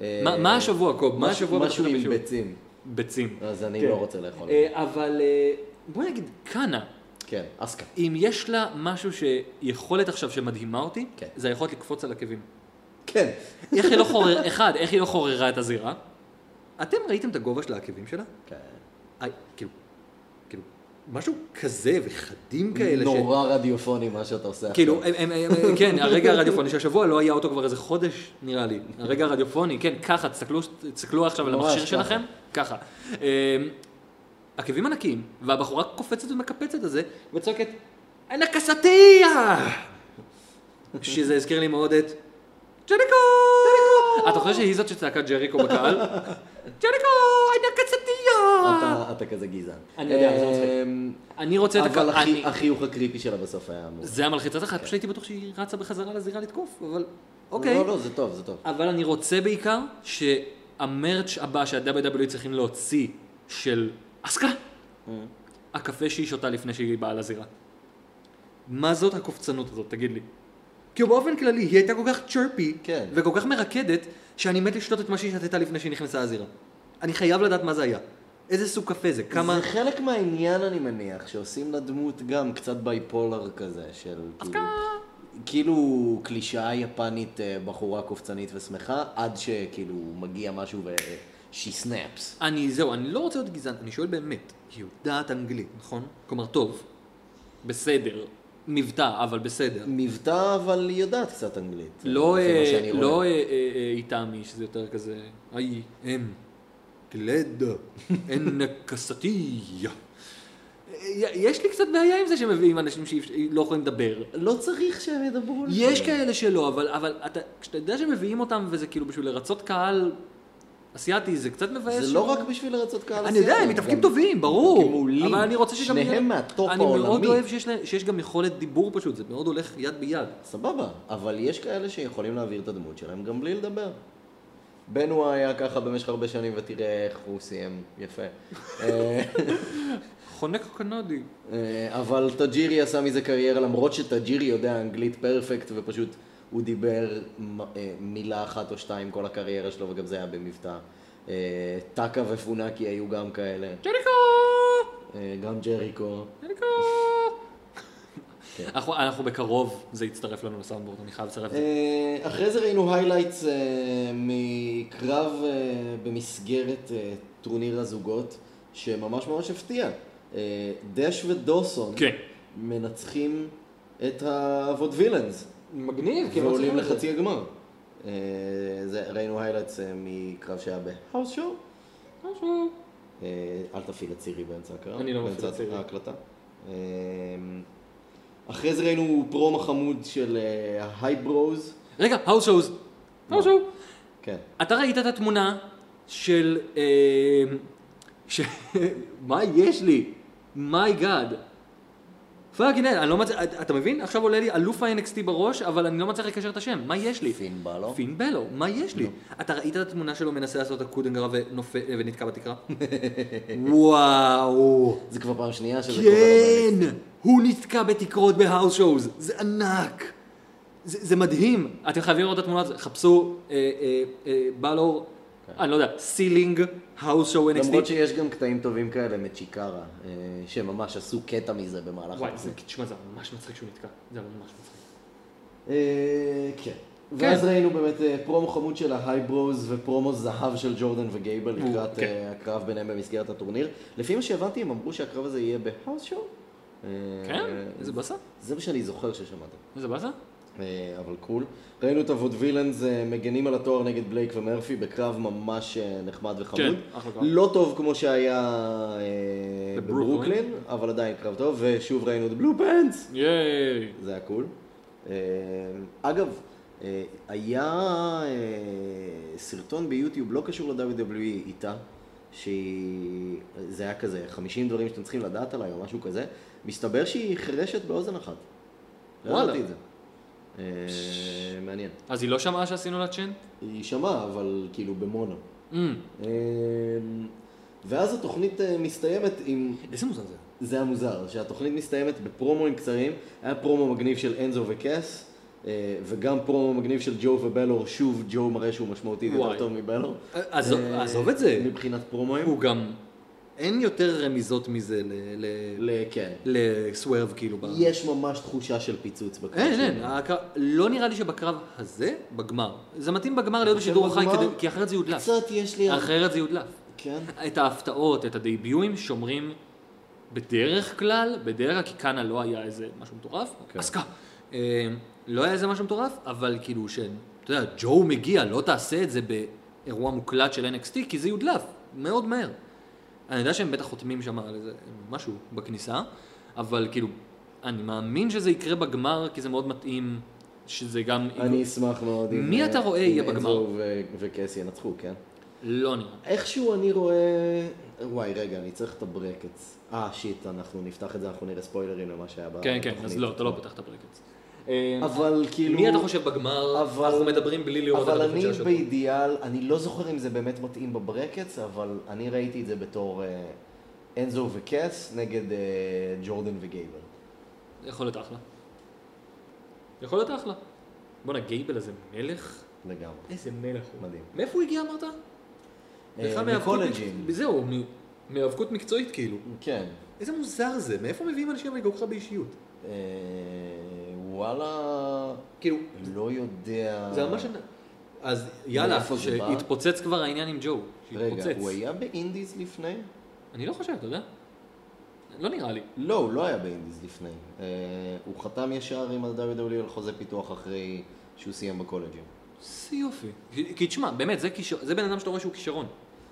Speaker 2: אה,
Speaker 1: מה- מה השבוע, קוב? מה
Speaker 2: משהו-
Speaker 1: השבוע
Speaker 2: משהו
Speaker 1: בתוכנית
Speaker 2: עם
Speaker 1: הבישול?
Speaker 2: ביצים.
Speaker 1: ביצים.
Speaker 2: אז אני
Speaker 1: כן.
Speaker 2: לא רוצה לאכול.
Speaker 1: אה, אבל אה, בוא נגיד, קאנה.
Speaker 2: כן, אסקה.
Speaker 1: אם יש לה משהו שיכולת עכשיו שמדהימה אותי,
Speaker 2: כן.
Speaker 1: זה היכולת לקפוץ על עקבים.
Speaker 2: כן.
Speaker 1: איך היא לא חורר, אחד, איך היא לא חוררה את הזירה? אתם ראיתם את הגובה של העקבים שלה?
Speaker 2: כן.
Speaker 1: אי, כאילו, כאילו, משהו כזה וחדים כאלה. אה, ש...
Speaker 2: נורא רדיופוני מה שאתה עושה עכשיו.
Speaker 1: כאילו, הם, הם, הם, כן, הרגע הרדיופוני שהשבוע לא היה אותו כבר איזה חודש, נראה לי. הרגע הרדיופוני, כן, ככה, תסתכלו, תסתכלו עכשיו על
Speaker 2: ממש
Speaker 1: המכשיר
Speaker 2: ככה.
Speaker 1: שלכם, ככה. אמ, עקבים ענקיים, והבחורה קופצת ומקפצת את זה, וצועקת, אנקסטיה! שזה הזכיר לי מאוד את ג'ריקו! אתה חושב שהיא זאת שצעקה ג'ריקו בקהל? ג'ריקו! אנקסטיה!
Speaker 2: אתה- אתה כזה גזען.
Speaker 1: אני יודע, זה מצחיק.
Speaker 2: אמ,
Speaker 1: אני רוצה את
Speaker 2: אבל
Speaker 1: הקו... אני-
Speaker 2: הכי- החיוך הקריפי שלה בסוף היה אמור.
Speaker 1: זה המלחיצת אחת, פשוט הייתי בטוח שהיא רצה בחזרה לזירה לתקוף, אבל אוקיי.
Speaker 2: לא, לא, זה טוב, זה טוב.
Speaker 1: אבל אני רוצה בעיקר שהמרץ' הבא שה-WWE צריכים להוציא של אסקה, הקפה שהיא שותה לפני שהיא באה לזירה. מה זאת הקופצנות הזאת, תגיד לי. כי באופן כללי היא הייתה כל כך צ'רפי,
Speaker 2: כן.
Speaker 1: וכל כך מרקדת, שאני מת לשתות את מה שהיא שתתה לפני שהיא נכנסה לזירה. אני חייב לדעת מה זה היה. איזה סוג קפה זה, כמה...
Speaker 2: זה חלק מהעניין, אני מניח, שעושים לדמות גם קצת בייפולר כזה, של כאילו... כאילו קלישאה יפנית, אה, בחורה קופצנית ושמחה, עד שכאילו מגיע משהו ו... she snaps.
Speaker 1: אני, זהו, אני לא רוצה להיות גזען, אני שואל באמת, היא יודעת אנגלית, נכון? כלומר, טוב, בסדר, מבטא, אבל בסדר.
Speaker 2: מבטא, אבל היא יודעת קצת אנגלית.
Speaker 1: לא,
Speaker 2: לפי כן, מה
Speaker 1: אה,
Speaker 2: שאני רואה.
Speaker 1: לא אה, אה, אה, איתמי, שזה יותר כזה, איי, אם, גלד, אין קסטיה. יש לי קצת בעיה עם זה שמביאים אנשים שלא יכולים לדבר.
Speaker 2: לא צריך שהם ידברו.
Speaker 1: יש
Speaker 2: לפעמים.
Speaker 1: כאלה שלא, אבל, אבל אתה, כשאתה יודע שמביאים אותם וזה כאילו בשביל לרצות קהל אסיאתי, זה קצת מבאס.
Speaker 2: זה
Speaker 1: ש-
Speaker 2: לא רק בשביל לרצות קהל
Speaker 1: אני יודע,
Speaker 2: הסיעה,
Speaker 1: הם מתאבקים
Speaker 2: גם-
Speaker 1: טובים, ברור.
Speaker 2: מתאבקים מעולים.
Speaker 1: אבל אני רוצה שגם... יהיה-
Speaker 2: שניהם מהטופ
Speaker 1: אני מאוד
Speaker 2: העולמי.
Speaker 1: אוהב שיש להם- שיש גם יכולת דיבור פשוט, זה מאוד הולך יד ביד.
Speaker 2: סבבה, אבל יש כאלה שיכולים להעביר את הדמות שלהם גם בלי לדבר. בנו היה ככה במשך הרבה שנים, ותראה איך הוא סיים יפה. אה,
Speaker 1: חונק קנדי.
Speaker 2: אה, אבל טאג'ירי עשה מזה קריירה, למרות שטאג'ירי יודע אנגלית פרפקט, ופשוט הוא דיבר מ- אה, מילה אחת או שתיים כל הקריירה שלו, וגם זה היה במבטא. אה, טאקה ופונאקי היו גם כאלה,
Speaker 1: ג'ריקו!
Speaker 2: אה, גם ג'ריקו.
Speaker 1: ג'ריקו! אנחנו- אנחנו בקרוב, זה יצטרף לנו לסאונדבורד, אני חייב לצרף את זה.
Speaker 2: אה, אחרי זה ראינו היילייטס מקרב אה, במסגרת אה, טורניר הזוגות, שממש ממש הפתיע. אה, דש ודוסון
Speaker 1: כן.
Speaker 2: מנצחים את הוודווילאנס,
Speaker 1: מגניב,
Speaker 2: ועולים לחצי הגמר. אה, זה- ראינו היילייטס מקרב שהיה בהאוס שואו. אה, אל תפעיל את סירי באמצע הקרב.
Speaker 1: אני לא מפעיל
Speaker 2: באמצע
Speaker 1: את סירי.
Speaker 2: ההקלטה. אה, אחרי זה ראינו פרומו חמוד של אה, הייברוז.
Speaker 1: רגע, האוס שואוז. האוס שואו.
Speaker 2: כן.
Speaker 1: אתה ראית את התמונה של... אה, ש... מה יש לי? מיי גאד. פאקינג, אני לא מצליח, אתה מבין? עכשיו עולה לי אלוף ה-NXT בראש, אבל אני לא מצליח לקשר את השם, מה יש לי?
Speaker 2: פין בלו.
Speaker 1: פין בלו, מה יש
Speaker 2: לא.
Speaker 1: לי? אתה ראית את התמונה שלו מנסה לעשות את הקודנגרה ונופל- ונתקע בתקרה? וואו.
Speaker 2: זה כבר פעם שנייה שזה קורה.
Speaker 1: כן, הוא נתקע בתקרות בהאוס שואוז, זה ענק. זה, זה מדהים. אתם חייבים לראות את התמונה הזאת, חפשו אה, אה, אה, בלור, אני לא יודע, סילינג, האוס שואו NXT.
Speaker 2: כן. למרות שיש גם קטעים טובים כאלה מצ'יקרה, אה, שממש עשו קטע מזה במהלך
Speaker 1: וואי, זה-
Speaker 2: הפרק.
Speaker 1: תשמע, זה ממש מצחיק שהוא נתקע. זה ממש מצחיק.
Speaker 2: אה, כן. ואז ראינו באמת אה, פרומו חמוד של ההייברוז ופרומו זהב של ג'ורדן וגייבל לקראת
Speaker 1: כן.
Speaker 2: אה, הקרב ביניהם במסגרת הטורניר. לפי מה שהבנתי, הם אמרו שהקרב הזה יהיה בהאוס שואו. אה,
Speaker 1: כן? איזה באסה?
Speaker 2: זה מה שאני זוכר ששמעתי.
Speaker 1: איזה באסה?
Speaker 2: אה, אבל קול. ראינו את הוודווילאנס אה, מגנים על התואר נגד בלייק ומרפי בקרב ממש אה, נחמד וחמוד.
Speaker 1: כן, אחלה קרב.
Speaker 2: לא טוב כמו שהיה אה,
Speaker 1: בברוקלין.
Speaker 2: בברוקלין, אבל עדיין קרב טוב, ושוב ראינו את בלו פנס.
Speaker 1: ייי.
Speaker 2: זה היה קול. אה, אגב, אה, היה אה, סרטון ביוטיוב לא קשור ל-WWE איתה, שהיא... זה היה כזה 50 דברים שאתם צריכים לדעת עליי או משהו כזה. מסתבר שהיא חירשת באוזן אחת. לא
Speaker 1: וואלה.
Speaker 2: ידעתי את זה. אה, מעניין.
Speaker 1: אז היא לא שמעה שעשינו לה צ'ן?
Speaker 2: היא שמעה, אבל כאילו במונו.
Speaker 1: Mm.
Speaker 2: אה, ואז התוכנית אה, מסתיימת עם
Speaker 1: איזה מוזר זה.
Speaker 2: זה היה מוזר, שהתוכנית מסתיימת בפרומואים קצרים, היה פרומו מגניב של אנזו וקאס, אה, וגם פרומו מגניב של ג'ו ובלור, שוב ג'ו מראה שהוא משמעותי
Speaker 1: וואי.
Speaker 2: יותר טוב מבלור.
Speaker 1: עזוב-
Speaker 2: אה,
Speaker 1: עזוב את זה.
Speaker 2: מבחינת פרומואים.
Speaker 1: הוא גם... אין יותר רמיזות מזה ל- ל-
Speaker 2: ל- כן.
Speaker 1: לסוורב כאילו. ב-
Speaker 2: יש ממש תחושה של פיצוץ בקרב.
Speaker 1: אין,
Speaker 2: שלו.
Speaker 1: אין, הקרב, לא נראה לי שבקרב הזה, בגמר. זה מתאים בגמר להיות בשידור חי,
Speaker 2: שבגמר-
Speaker 1: כדי- כי אחרת זה יודלף.
Speaker 2: קצת יש לי...
Speaker 1: אחרת זה יודלף.
Speaker 2: כן.
Speaker 1: את ההפתעות, את הדייביואים, שומרים בדרך כלל, בדרך כלל, כי כאן לא היה איזה משהו מטורף. עסקה. אה, לא היה איזה משהו מטורף, אבל כאילו, ש- אתה יודע, ג'ו מגיע, לא תעשה את זה באירוע מוקלט של NXT, כי זה יודלף, מאוד מהר. אני יודע שהם בטח חותמים שם על איזה משהו בכניסה, אבל כאילו, אני מאמין שזה יקרה בגמר, כי זה מאוד מתאים שזה גם...
Speaker 2: אני אשמח מאוד אם... אה,
Speaker 1: מי אתה רואה יהיה
Speaker 2: אם
Speaker 1: בגמר?
Speaker 2: אנזו ו- וקייס ינצחו, כן?
Speaker 1: לא נראה.
Speaker 2: איכשהו אני רואה... וואי, רגע, אני צריך את הברקץ. אה, שיט, אנחנו נפתח את זה, אנחנו נראה ספוילרים למה שהיה
Speaker 1: כן,
Speaker 2: בתוכנית.
Speaker 1: כן, אז לא, אתה לא פותח את אה, הברקס.
Speaker 2: אבל כאילו...
Speaker 1: מי אתה חושב בגמר?
Speaker 2: אבל-
Speaker 1: אנחנו מדברים בלי לראות את
Speaker 2: אבל
Speaker 1: התוכנית
Speaker 2: אני
Speaker 1: של השבוע.
Speaker 2: באידיאל, אני לא זוכר אם זה באמת מתאים בברקץ, אבל אני ראיתי את זה בתור אה, אנזו וקס נגד אה, ג'ורדן וגייבר.
Speaker 1: יכול להיות אחלה. יכול להיות אחלה. בואנה, גייבל הזה מלך?
Speaker 2: לגמרי.
Speaker 1: איזה מלך הוא.
Speaker 2: מדהים.
Speaker 1: מאיפה הוא הגיע אמרת? בכלל
Speaker 2: אה,
Speaker 1: מהיאבקות
Speaker 2: מקולג'ים.
Speaker 1: מקצועית- זהו, מ- מהיאבקות מקצועית כאילו.
Speaker 2: כן.
Speaker 1: איזה מוזר זה, מאיפה מביאים אנשים עם כל כך באישיות?
Speaker 2: אה, וואלה,
Speaker 1: כאילו,
Speaker 2: לא יודע.
Speaker 1: זה ממש... אז יאללה,
Speaker 2: אה. מאיפה זה בא?
Speaker 1: שיתפוצץ כבר העניין עם ג'ו.
Speaker 2: רגע,
Speaker 1: שיתפוצץ.
Speaker 2: הוא היה באינדיז לפני?
Speaker 1: אני לא חושב, אתה יודע? לא נראה לי.
Speaker 2: לא, הוא לא היה באינדיז לפני. אה, הוא חתם ישר עם ה-WWE על חוזה פיתוח אחרי שהוא סיים בקולג'ים.
Speaker 1: זה יופי. כי- כי תשמע, באמת, זה כישרון- זה בן אדם שאתה רואה שהוא כישרון.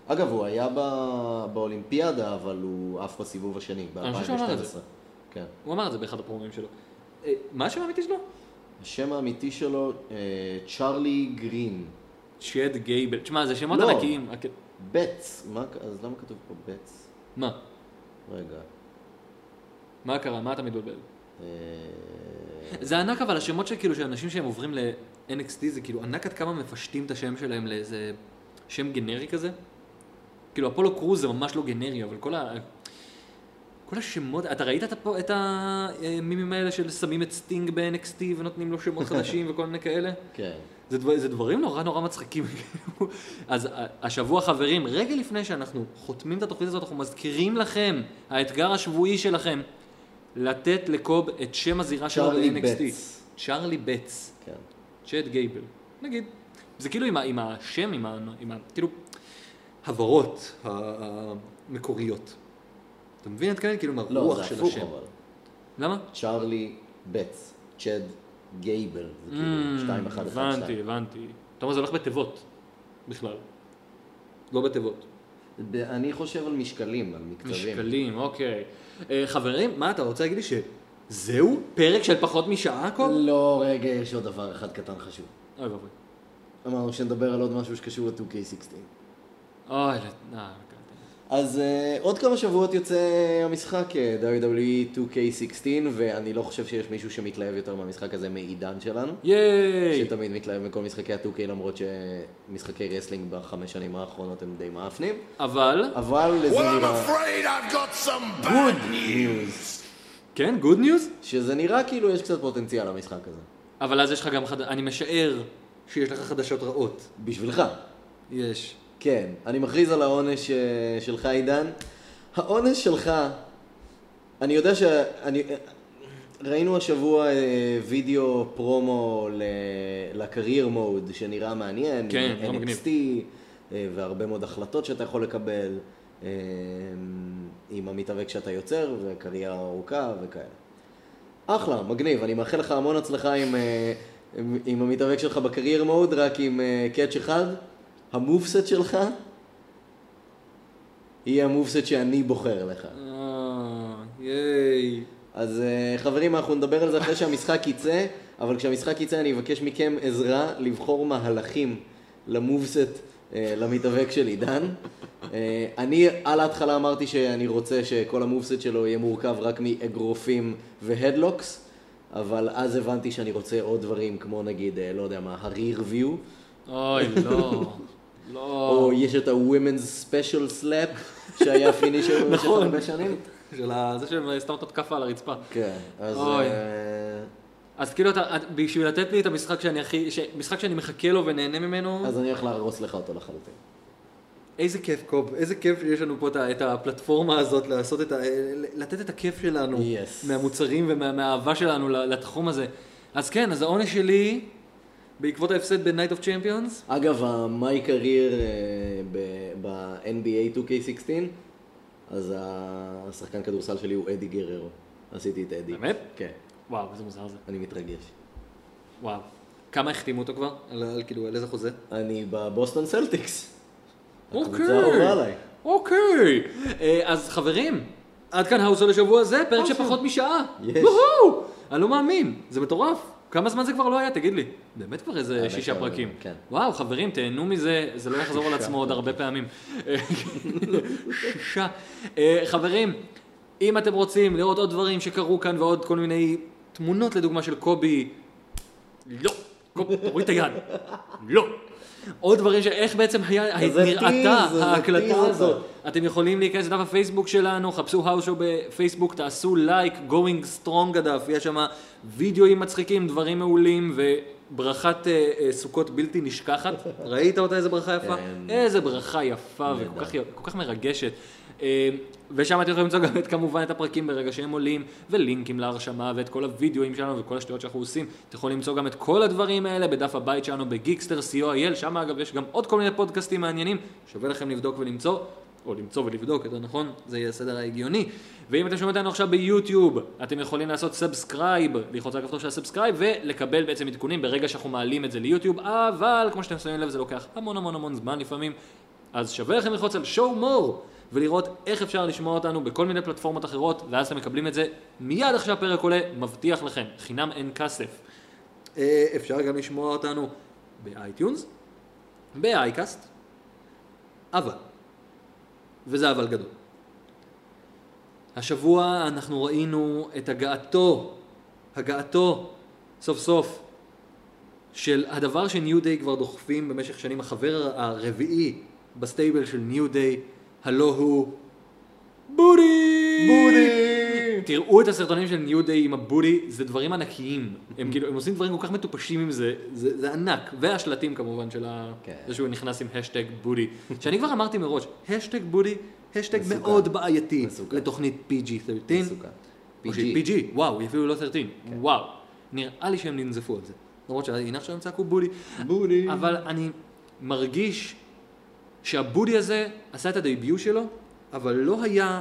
Speaker 2: אגב, הוא היה ב... באולימפיאדה, אבל הוא עף בסיבוב השני,
Speaker 1: אני חושב שהוא אמר את
Speaker 2: ב-2012.
Speaker 1: זה.
Speaker 2: כן.
Speaker 1: הוא אמר את זה באחד הפרומים שלו. אה, מה השם האמיתי שלו?
Speaker 2: השם האמיתי שלו, אה, צ'ארלי גרין.
Speaker 1: שד גייבל. תשמע, זה שמות
Speaker 2: לא.
Speaker 1: ענקיים. הק-
Speaker 2: בץ. מה... כ- אז למה כתוב פה בץ?
Speaker 1: מה?
Speaker 2: רגע.
Speaker 1: מה קרה? מה אתה מתבלבל?
Speaker 2: אה,
Speaker 1: זה ענק אבל השמות של כאילו של אנשים שהם עוברים ל-NXT זה כאילו ענק עד כמה מפשטים את השם שלהם לאיזה שם גנרי כזה. כאילו אפולו קרוז זה ממש לא גנרי אבל כל ה... כל השמות, אתה ראית את הפו- את המימים האלה של שמים את סטינג ב-NXT ונותנים לו שמות חדשים וכל מיני כאלה?
Speaker 2: כן.
Speaker 1: זה, דבר, זה דברים נורא נורא מצחיקים. כאילו. אז ה- השבוע, חברים, רגע לפני שאנחנו חותמים את התוכנית הזאת, אנחנו מזכירים לכם, האתגר השבועי שלכם, לתת לקוב את שם הזירה שלו
Speaker 2: צ'ארלי
Speaker 1: ב-NXT.
Speaker 2: בטס.
Speaker 1: צ'ארלי בטס.
Speaker 2: כן.
Speaker 1: צ'אט גייבל. נגיד. זה כאילו עם, ה- עם השם, עם, ה, עם ה, כאילו, הברות ה- ה- המקוריות. אתה מבין? את כאן כאילו עם
Speaker 2: לא,
Speaker 1: הרוח
Speaker 2: זה
Speaker 1: של
Speaker 2: הפוך,
Speaker 1: השם.
Speaker 2: אבל.
Speaker 1: למה?
Speaker 2: צ'ארלי בץ. צ'ד גייבל. זה כאילו
Speaker 1: Mm,
Speaker 2: 2 1 1
Speaker 1: הבנתי, הבנתי. אתה אומר, זה הולך בתיבות בכלל. לא בתיבות.
Speaker 2: אני חושב על משקלים, על מקצבים.
Speaker 1: משקלים, אוקיי. אה, חברים, מה אתה רוצה להגיד לי שזהו? פרק של פחות משעה כה?
Speaker 2: לא, רגע, יש עוד דבר אחד קטן חשוב.
Speaker 1: אוי ואבוי.
Speaker 2: אמרנו שנדבר על עוד משהו שקשור ל-2K16.
Speaker 1: אוי, לא- אה, אוקיי.
Speaker 2: אז uh, עוד כמה שבועות יוצא המשחק אה, WWE 2K16, ואני לא חושב שיש מישהו שמתלהב יותר מהמשחק הזה מעידן שלנו.
Speaker 1: ייי!
Speaker 2: שתמיד מתלהב מכל משחקי ה-2K, למרות שמשחקי רסלינג בחמש שנים האחרונות הם די מאפנים.
Speaker 1: אבל,
Speaker 2: אבל זה
Speaker 3: Well, I'm
Speaker 2: נראה...
Speaker 3: afraid I've got some bad news.
Speaker 1: כן, גוד ניוז?
Speaker 2: שזה נראה כאילו יש קצת פוטנציאל למשחק הזה.
Speaker 1: אבל אז יש לך גם חד... אני משער שיש לך חדשות רעות.
Speaker 2: בשבילך.
Speaker 1: יש.
Speaker 2: כן. אני מכריז על העונש אה, שלך, עידן. העונש שלך, אני יודע ש... אני... אה, ראינו השבוע אה, וידאו פרומו ל- לקרייר מוד שנראה מעניין,
Speaker 1: כן,
Speaker 2: עם
Speaker 1: נראה מגניב.
Speaker 2: NXT אה, והרבה מאוד החלטות שאתה יכול לקבל אה, עם המתאבק שאתה יוצר וקריירה ארוכה וכאלה. אחלה, מגניב, אני מאחל לך המון הצלחה עם, אה, עם, עם המתאבק שלך בקרייר מוד, רק עם קאץ' אחד, המובסט שלך יהיה המובסט שאני בוחר לך.
Speaker 1: אה, ייי.
Speaker 2: אז אה, חברים, אנחנו נדבר על זה אחרי שהמשחק יצא, אבל כשהמשחק יצא אני אבקש מכם עזרה לבחור מהלכים למובסט, אה, למתאבק של עידן. אה, אני על ההתחלה אמרתי שאני רוצה שכל המובסט שלו יהיה מורכב רק מאגרופים והדלוקס, אבל אז הבנתי שאני רוצה עוד דברים כמו נגיד, אה, לא יודע מה, הריר ויו,
Speaker 1: אוי, לא. לא.
Speaker 2: או יש את ה-Women's Special Slap שהיה פינישר במשך
Speaker 1: נכון.
Speaker 2: הרבה שנים.
Speaker 1: של ה... זה שהם אה, סתם את התקפה על הרצפה.
Speaker 2: כן, אז...
Speaker 1: אוי.
Speaker 2: אה,
Speaker 1: אז כאילו אתה, את- בשביל לתת לי את המשחק שאני הכי, ש- משחק שאני מחכה לו ונהנה ממנו,
Speaker 2: אז אני הולך להרוס לך אותו לחלוטין.
Speaker 1: איזה כיף קוב, איזה כיף שיש לנו פה את ה- את הפלטפורמה הזאת לעשות את ה... לתת את הכיף שלנו,
Speaker 2: Yes.
Speaker 1: מהמוצרים ומהאהבה שלנו ל- לתחום הזה. אז כן, אז העונש שלי, בעקבות ההפסד ב-Night of Champions,
Speaker 2: אגב, המאי קרייר אה, ב- ב-NBA 2K16, אז השחקן כדורסל שלי הוא אדי גררו. עשיתי את אדי.
Speaker 1: באמת?
Speaker 2: כן,
Speaker 1: וואו, איזה מוזר זה.
Speaker 2: אני מתרגש.
Speaker 1: וואו. כמה החתימו אותו כבר? על, על כאילו, על איזה חוזה?
Speaker 2: אני בבוסטון סלטיקס.
Speaker 1: אוקיי.
Speaker 2: הקבוצה האהובה עליי.
Speaker 1: אוקיי. אה, אז חברים, עד כאן האוסו לשבוע זה, פרק
Speaker 2: אוקיי.
Speaker 1: של פחות משעה. וואו! אני לא מאמין, זה מטורף. כמה זמן זה כבר לא היה, תגיד לי. באמת כבר איזה
Speaker 2: האמת
Speaker 1: שישה
Speaker 2: כבר,
Speaker 1: פרקים.
Speaker 2: כן.
Speaker 1: וואו, חברים, תהנו מזה, זה לא יחזור על עצמו עוד הרבה פעמים. שישה. אה, חברים, אם אתם רוצים לראות עוד דברים שקרו כאן ועוד כל מיני תמונות, לדוגמה, של קובי לא, קום, תוריד את היד, לא. עוד דברים שאיך בעצם היה,
Speaker 2: זה
Speaker 1: נראתה
Speaker 2: טיז, זה טיז
Speaker 1: ההקלטה
Speaker 2: אותה.
Speaker 1: הזאת. אתם יכולים להיכנס לדף הפייסבוק שלנו, חפשו האושו בפייסבוק, תעשו לייק, going strong הדף, יש שם וידאוים מצחיקים, דברים מעולים וברכת אה, אה, סוכות בלתי נשכחת. ראית אותה איזה ברכה יפה? אה,
Speaker 2: כן.
Speaker 1: איזה ברכה יפה וכל כך, כל כך מרגשת. אה, ושם אתם יכולים למצוא גם את כמובן את הפרקים ברגע שהם עולים, ולינקים להרשמה, ואת כל הוידאוים שלנו, וכל השטויות שאנחנו עושים. אתם יכולים למצוא גם את כל הדברים האלה בדף הבית שלנו, בגיקסטר, co.il, שם אגב יש גם עוד כל מיני פודקאסטים מעניינים, שווה לכם לבדוק ולמצוא, או למצוא ולבדוק, יותר נכון, זה יהיה הסדר ההגיוני. ואם אתם שומעים אותנו עכשיו ביוטיוב, אתם יכולים לעשות סאבסקרייב, ללחוץ על הכפתור של הסאבסקרייב, ולקבל בעצם עדכונים ברגע שאנחנו מעלים את זה ליוטיוב, אבל כמו שאתם שמים לב זה לוקח המון המון המון זמן לפעמים, אז שווה לכם ללחוץ על show more ולראות איך אפשר לשמוע אותנו בכל מיני פלטפורמות אחרות, ואז אתם מקבלים את זה מיד עכשיו פרק עולה, מבטיח לכם, חינם אין כסף. אה, אפשר גם לשמוע אותנו באייטיונס, באייקאסט, אבל, וזה אבל גדול. השבוע אנחנו ראינו את הגעתו, הגעתו, סוף סוף, של הדבר שניו דיי כבר דוחפים במשך שנים, החבר הרביעי בסטייבל של ניו דיי, הלו הוא בודי!
Speaker 2: בודי!
Speaker 1: תראו את הסרטונים של ניו דיי עם הבודי, זה דברים ענקיים. הם כאילו, הם עושים דברים כל כך מטופשים עם זה, זה, זה ענק. והשלטים כמובן של ה...
Speaker 2: כן.
Speaker 1: זה שהוא נכנס עם השטג בודי, שאני כבר אמרתי מראש, השטג בודי, השטג מאוד בעייתי
Speaker 2: מסוכן.
Speaker 1: לתוכנית PG-13.
Speaker 2: מסוכן.
Speaker 1: או
Speaker 2: PG.
Speaker 1: שהיא PG, וואו, היא אפילו לא 13,
Speaker 2: כן.
Speaker 1: וואו. נראה לי שהם ננזפו על זה. לא למרות שהנה עכשיו הם צעקו בודי.
Speaker 2: בודי.
Speaker 1: אבל אני מרגיש שהבודי הזה עשה את הדייביו שלו, אבל לא היה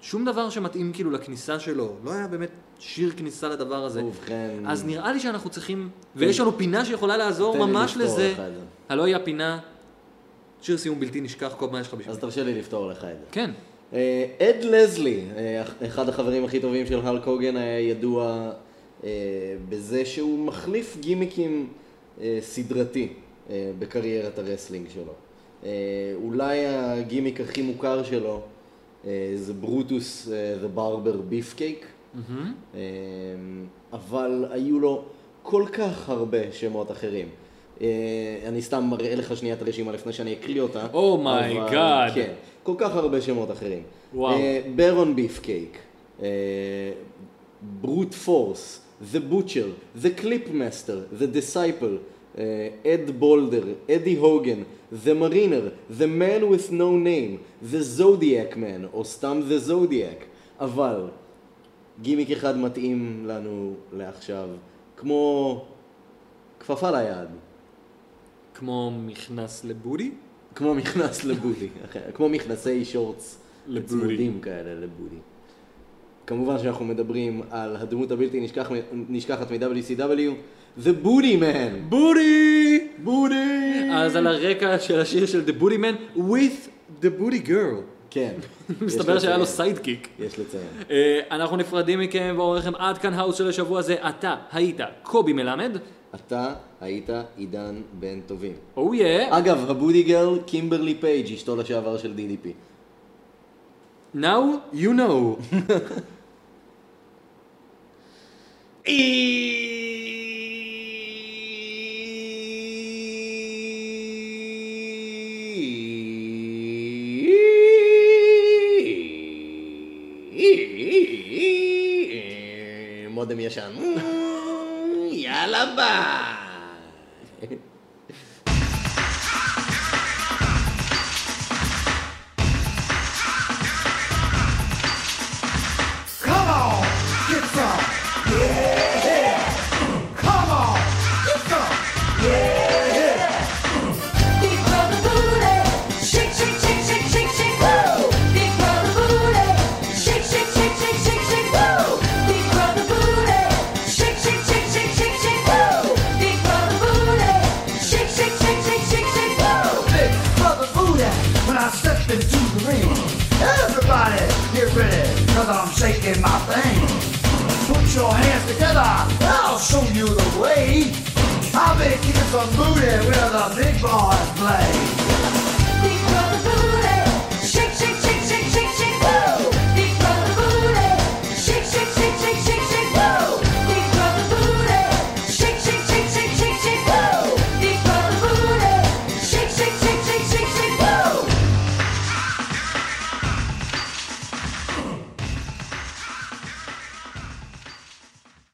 Speaker 1: שום דבר שמתאים כאילו לכניסה שלו. לא היה באמת שיר כניסה לדבר הזה.
Speaker 2: ובכן,
Speaker 1: אז נראה לי שאנחנו צריכים, ויש לנו פינה שיכולה לעזור
Speaker 2: כן. תן לי
Speaker 1: ממש
Speaker 2: לפתור
Speaker 1: לזה.
Speaker 2: לך את זה.
Speaker 1: הלא היא הפינה, שיר סיום בלתי נשכח, כל מה יש לך בשביל.
Speaker 2: אז תרשה לי לפתור לך את זה.
Speaker 1: כן.
Speaker 2: אה, אד לזלי, אה, אח- אחד החברים הכי טובים של הלק הוגן, היה ידוע אה, בזה שהוא מחליף גימיקים אה, סדרתי אה, בקריירת הרסלינג שלו. אה, אולי הגימיק הכי מוכר שלו אה, זה ברוטוס אה, דה ברבר ביף קייק,
Speaker 1: Mm-hmm.
Speaker 2: אה, אבל היו לו כל כך הרבה שמות אחרים. אה, אני סתם מראה לך שנייה את הרשימה לפני שאני אקריא אותה.
Speaker 1: Oh my
Speaker 2: אבל-
Speaker 1: God.
Speaker 2: כן. כל כך הרבה שמות אחרים.
Speaker 1: וואו.
Speaker 2: אה, ברון ביף קייק, ברוט פורס, The Butcher, The Clip Master, The Disciple, אה, אד בולדר, אדי הוגן, The Mariner, The Man with No Name, The Zodiac Man, או סתם The Zodiac, אבל גימיק אחד מתאים לנו לעכשיו, כמו כפפה ליד,
Speaker 1: כמו מכנס לבודי?
Speaker 2: כמו מכנס לבודי, אכן, כמו מכנסי שורטס
Speaker 1: לבודי.
Speaker 2: צמודים כאלה לבודי. כמובן שאנחנו מדברים על הדמות הבלתי נשכח, נשכחת מ-WCW, The Booty Man!
Speaker 1: בודי!
Speaker 2: בודי!
Speaker 1: אז על הרקע של השיר של The Booty Man, with the Booty Girl.
Speaker 2: כן.
Speaker 1: מסתבר
Speaker 2: יש
Speaker 1: שהיה לו
Speaker 2: לציין,
Speaker 1: סיידקיק.
Speaker 2: יש לציין.
Speaker 1: אה, אנחנו נפרדים מכם ואומרים לכם עד כאן האוס של השבוע הזה, אתה היית קובי מלמד,
Speaker 2: אתה היית עידן בן טובים.
Speaker 1: או יא,
Speaker 2: אגב, הבודי גרל, קימברלי פייג', אשתו לשעבר של DDP.
Speaker 1: now you know.
Speaker 2: מודם ישן. Mm, יאללה ביי.
Speaker 6: Come on, get some. Yeah, yeah. Come on, get some.
Speaker 7: Big brother booty, shake, shake, shake, shake, shake, shake, woo! Big brother booty, shake, shake, shake, shake, shake, shake, woo! Big brother booty, shake, shake, shake, shake, shake, shake, woo! Big brother booty,
Speaker 6: cause I'm shaking my thing. Put your hands together, I'll show you the way. I'll be kicking some booty where the big boys play.